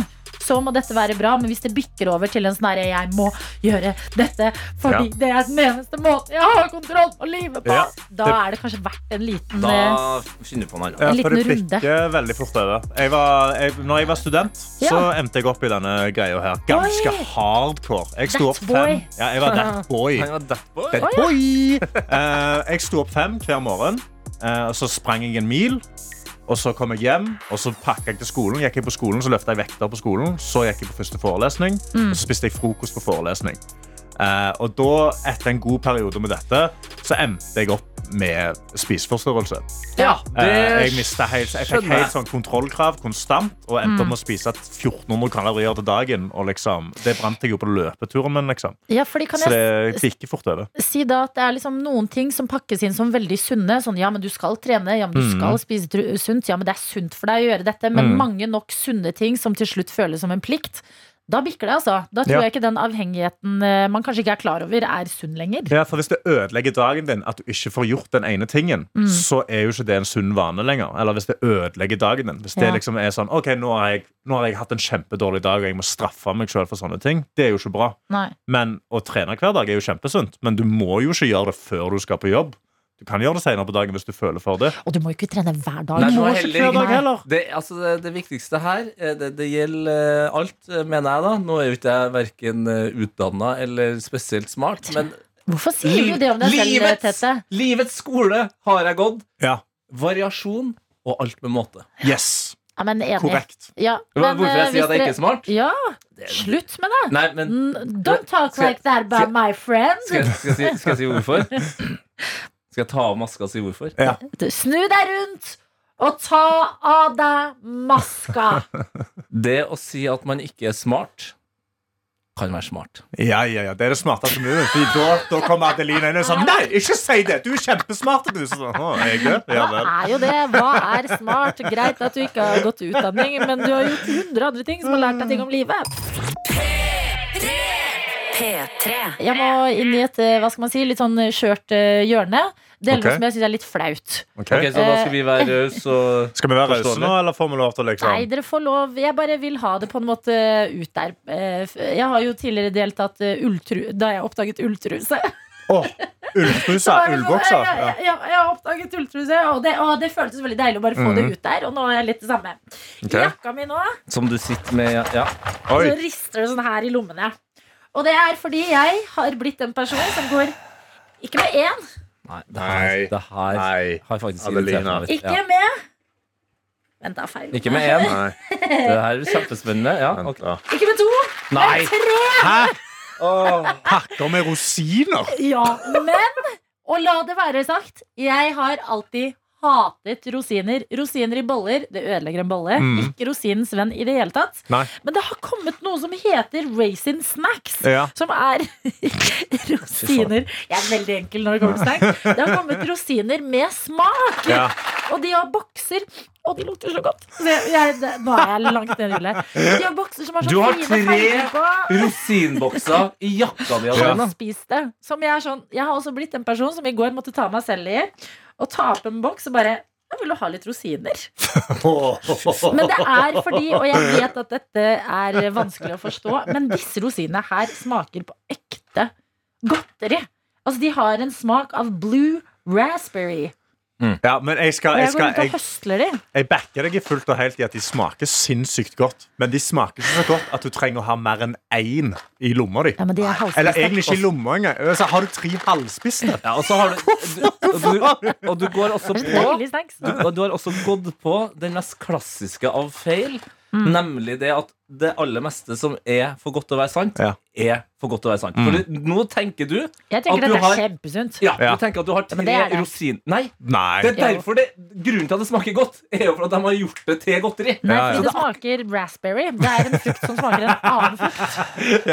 så må dette være bra. Men hvis det bikker over til en sånn herre jeg må gjøre dette fordi
Ja.
det er den eneste måten jeg har kontroll på livet på,
Ja,
da
det-
er det kanskje verdt en liten eh,
*laughs* Da finner du på noe.
Ja,
En liten
for det
runde.
bikker veldig fort over. Jeg var, jeg, når jeg var student, så
Ja.
endte jeg opp i denne greia her. Ganske
Oi.
hardcore. Jeg sto
That
opp fem.
boy.
Ja, jeg
*laughs*
var that boy.
Han var that boy.
That
Å, ja.
boy. Eh, jeg sto opp fem hver morgen, eh, og så sprang jeg en mil. Og så kom jeg hjem, og så pakket jeg til skolen. Gikk jeg på skolen, Så løfta jeg vekter på skolen. Så gikk jeg på første forelesning,
Mm.
og så spiste jeg frokost på forelesning. Eh, og da, etter en god periode med dette, så endte jeg opp med spiseforstyrrelse.
Ja,
Eh,
det
jeg, mistet helt, jeg fikk
skjønner jeg.
helt sånn kontrollkrav konstant og
Mm.
endte opp med å spise 1400 kalorier til dagen. Og liksom, det brant jeg jo på løpeturen min. Liksom.
Ja, fordi kan
Så det
jeg
bikker fort over.
si da at det er liksom noen ting som pakkes inn som veldig sunne. Sånn ja, men du skal trene, ja, men du
Mm.
skal spise tru- sunt, ja, men det er sunt for deg å gjøre dette. Men
Mm.
mange nok sunne ting som til slutt føles som en plikt. Da bikker det, altså. Da tror
Ja.
jeg ikke den avhengigheten eh, man kanskje ikke er klar over, er sunn lenger.
Ja, for Hvis det ødelegger dagen din at du ikke får gjort den ene tingen,
Mm.
så er jo ikke det en sunn vane lenger. Eller hvis det ødelegger dagen din. Hvis det
Ja.
liksom er sånn OK, nå har, jeg, nå har jeg hatt en kjempedårlig dag, og jeg må straffe meg sjøl for sånne ting. Det er jo ikke bra.
Nei.
Men å trene hver dag er jo kjempesunt. Men du må jo ikke gjøre det før du skal på jobb. Du kan gjøre det senere på dagen hvis du føler for det.
Og du må jo ikke trene hver dag.
Nei,
Det,
du
var
må ikke
heller,
hver dag heller.
det, altså det, det viktigste her, eh, det, det gjelder eh, alt, eh, mener jeg da. Nå er jo ikke jeg verken utdanna eller spesielt smart, men
Hvorfor sier du det om deg selv,
Livets-
Tete?
livets skole har jeg gått.
Ja.
Variasjon og alt med måte.
Yes.
Ja, men enig.
Korrekt.
Ja,
Hva- hvorfor jeg
eh,
sier
hvis Mm.
at jeg ikke er
dere-
smart?
Ja, slutt med det.
Nei, men
N- Don't talk
Skal jeg-
like that about my friend.
skal jeg, skal, jeg si, skal jeg si
*laughs*
hvorfor? Skal jeg ta av maska og si hvorfor?
Snu deg rundt og ta av deg maska.
Det å si at man ikke er smart, kan være smart.
Ja, ja, ja, Det er det smarteste du gjør. Fordi da, da kommer Adeline inn og sier Nei, ikke si det! Du er kjempesmart! Du. Så, sånn, «Å, jeg er, *laughs* ja, vel.
Er jo det. Hva er smart? Greit at du ikke har gått utdanning, men du har gjort hundre andre ting som har lært deg ting om livet.
P3.
Jeg må inn i et eh, hva skal man si, litt sånn skjørt eh, hjørne. Delvis
Ok.
som jeg syns er litt flaut.
Ok.
Ok, så da skal vi
Eh.
være rause og
Skal vi være rause
forståelige?
nå, eller får vi lov til å liksom
Nei, dere får lov. Jeg bare vil ha det på en måte ut der. Eh, f- Jeg har jo tidligere deltatt eh, ulltru, da jeg oppdaget ulltruse.
Åh, ulltrusa,
Så er det sånn,
ullboksa.
Jeg,
Ja.
jeg, jeg, jeg har oppdaget ulltruse, og det, og det føltes veldig deilig å bare få det
Mhm.
ut der. Og nå er jeg litt det samme.
Ok.
I jakka mi nå
Som du sitter med Ja. ja.
så rister det sånn her i lommene. Og det er fordi jeg har blitt en person som går ikke med én,
Nei. Det her, det her har faktisk irritert meg litt.
ikke
Ja.
med Vent, da, feil.
Ikke med én. Det her er kjempespennende. Ja, ok.
Ikke med to.
Nei.
Men tre.
Pakker med rosiner?
Ja, men Og la det være sagt, jeg har alltid hatet rosiner. Rosiner i boller, det ødelegger en bolle.
Mm.
Ikke rosinens venn i det hele tatt.
Nei.
Men det har kommet noe som heter raisin snacks.
Ja.
Som er *laughs* rosiner Jeg er veldig enkel når det kommer til snacks. Det har kommet rosiner med smak.
Ja.
Og de har bokser Og de lukter så godt. Så jeg, jeg, det, nå er jeg langt nede i hullet. De har bokser som har
Du har
sånn fine farger på.
tre rosinbokser i jakka di. altså.
Som
Adelina.
spis det. Som jeg, er sånn, jeg har også blitt en person som i går måtte ta meg selv i og ta opp en boks og bare jeg vil jo ha litt rosiner. Men det er fordi, og jeg vet at dette er vanskelig å forstå, men disse rosinene her smaker på ekte godteri. Altså, de har en smak av blue raspberry.
Ja, men jeg skal,
Og
jeg,
jeg går
skal
rundt og
jeg,
høsler de.
jeg backer deg i fullt og helt i at de smaker sinnssykt godt. Men de smaker ikke så godt at du trenger å ha mer enn én i lomma di.
men de er halvspiste.
Eller egentlig ikke i lomma engang. Altså, har du tre halvspiste?
Ja, og så har du, og du, og du går også på
Deilig snacks.
du, og du har også gått på den mest klassiske av feil, nemlig det at det aller meste som er for godt til å være sant, er for godt til å være sant. For du, nå tenker du
Jeg tenker
at
at
du
det er
har
kjempesunt.
Mm. ja, du tenker at du har
Ja,
tre
men det er det.
rosin... Nei.
Nei.
Det er derfor det, grunnen til at det smaker godt, er jo for at de har gjort det til godteri.
Nei,
Så
fordi det
det-
smaker raspberry. Det er en frukt som smaker en annen frukt.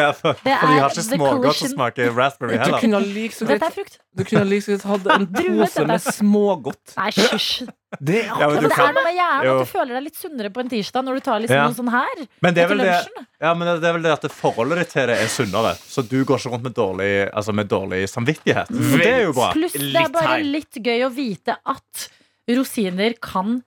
Ja, for, for de
er
har ikke
the
smågodt som
collision.
smaker raspberry
Du kunne
heller.
ha like så
Dette er
greit
frukt.
Du kunne ha like så greit hatt
*laughs*
en
Druet,
pose med
dette.
smågodt.
Nei, hysj.
Det
Ja,
Ja,
men
men
du
det
kan-
er noe med hjernen
Jo.
at du føler deg litt sunnere på en tirsdag når du tar liksom
Ja.
noe sånn her.
Men det, er vel
etter
det,
lunsjen.
ja, men det er vel det at det forholdet ditt til det er sunnere. Så du går ikke rundt med dårlig, altså med dårlig samvittighet. Og det er jo bra.
Pluss det er bare litt gøy å vite at rosiner kan,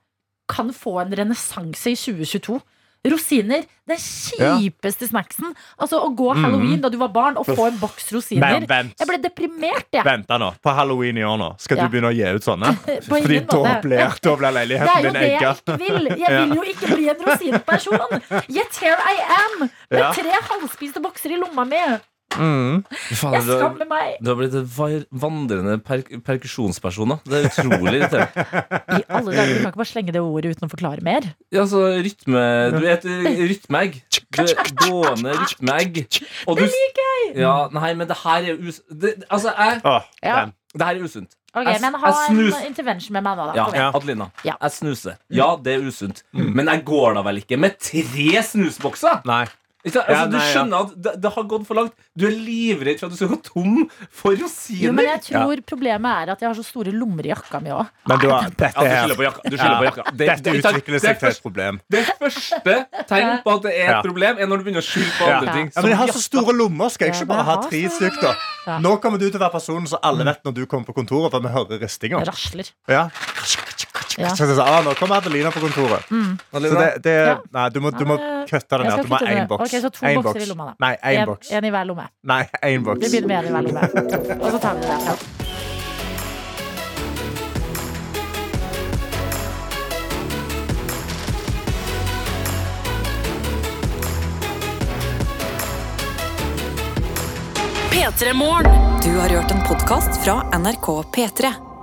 kan få en renessanse i 2022. Rosiner. Den kjipeste snacksen. Altså Å gå halloween da du var barn og få en boks rosiner.
Men Mhm. vent.
Jeg ble deprimert, jeg.
Vent da nå, på halloween i år nå Skal
Ja.
du begynne å gi ut
*laughs*
sånne?
ingen
Fordi da
måte.
blir, da
Det
blir
er
leiligheten
jo
din
det jeg
egga
ikke vil. Jeg vil jo ikke bli en rosinperson. Yet here I am, med
Ja.
tre halvspiste bokser i lomma mi.
Faen,
Altså,
Jeg
du har-
skammer meg.
Du har blitt en var- vandrende per perkusjonsperson. da. Det er utrolig irriterende.
I alle dager, du kan ikke bare slenge det ordet uten å forklare mer.
Ja, altså, rytme Du er et rytmeegg. Du er et gående rytmeegg. Og du-
Det liker jeg!
Ja, nei, men det her er jo us... Det, altså, jeg
Ja.
Det her er usunt.
Ok,
Jeg s-
men ha
jeg snus-
en intervention med meg nå, da.
Ja,
Kom igjen.
Adelina.
Ja.
Jeg snuser. Ja, det er usunt. Men jeg går da vel ikke med tre snusbokser?
Mm. Nei
Ikke sant?
Ja,
Altså, du
nei, ja.
skjønner at det, det har gått for langt. Du er livredd for at du skal gå tom for rosiner.
Jo, men jeg tror problemet er at jeg har så store lommer i jakka mi òg.
Men du har, dette
Ja, Altså, du
her-
skylder på jakka. Du skylder på jakka. Det-
Dette
det-
utvikler
det er
seg til et problem
Det første tegn på at det er
Ja.
et problem, er når du begynner å skylde på
ja.
andre ting.
Ja, men jeg har så store lommer, skal jeg
Ja,
ikke bare ha
men
tre
jeg har
stykk da?
Ja.
Nå kommer du til å være personen som alle vet når du kommer på kontoret For vi hører ristinger
Rasler.
ja.
Ja.
Så jeg sa, ah, Nå kommer Adelina på kontoret
Mm.
Så det, det,
Ja. Ah.
nei, du må, du må
Nei,
kutte
jeg
det ned
skal
Du
kutte
må ha
det.
en boks
Ok, så to
En
bokser i lomma, da.
Nei, en
En,
boks
en i hver lomme.
Nei, en boks
Vi begynner med en i hver
*laughs*
lomme. Og så tar vi det derfra.
P3 Morgen.
Du har hørt en podkast fra NRK P3.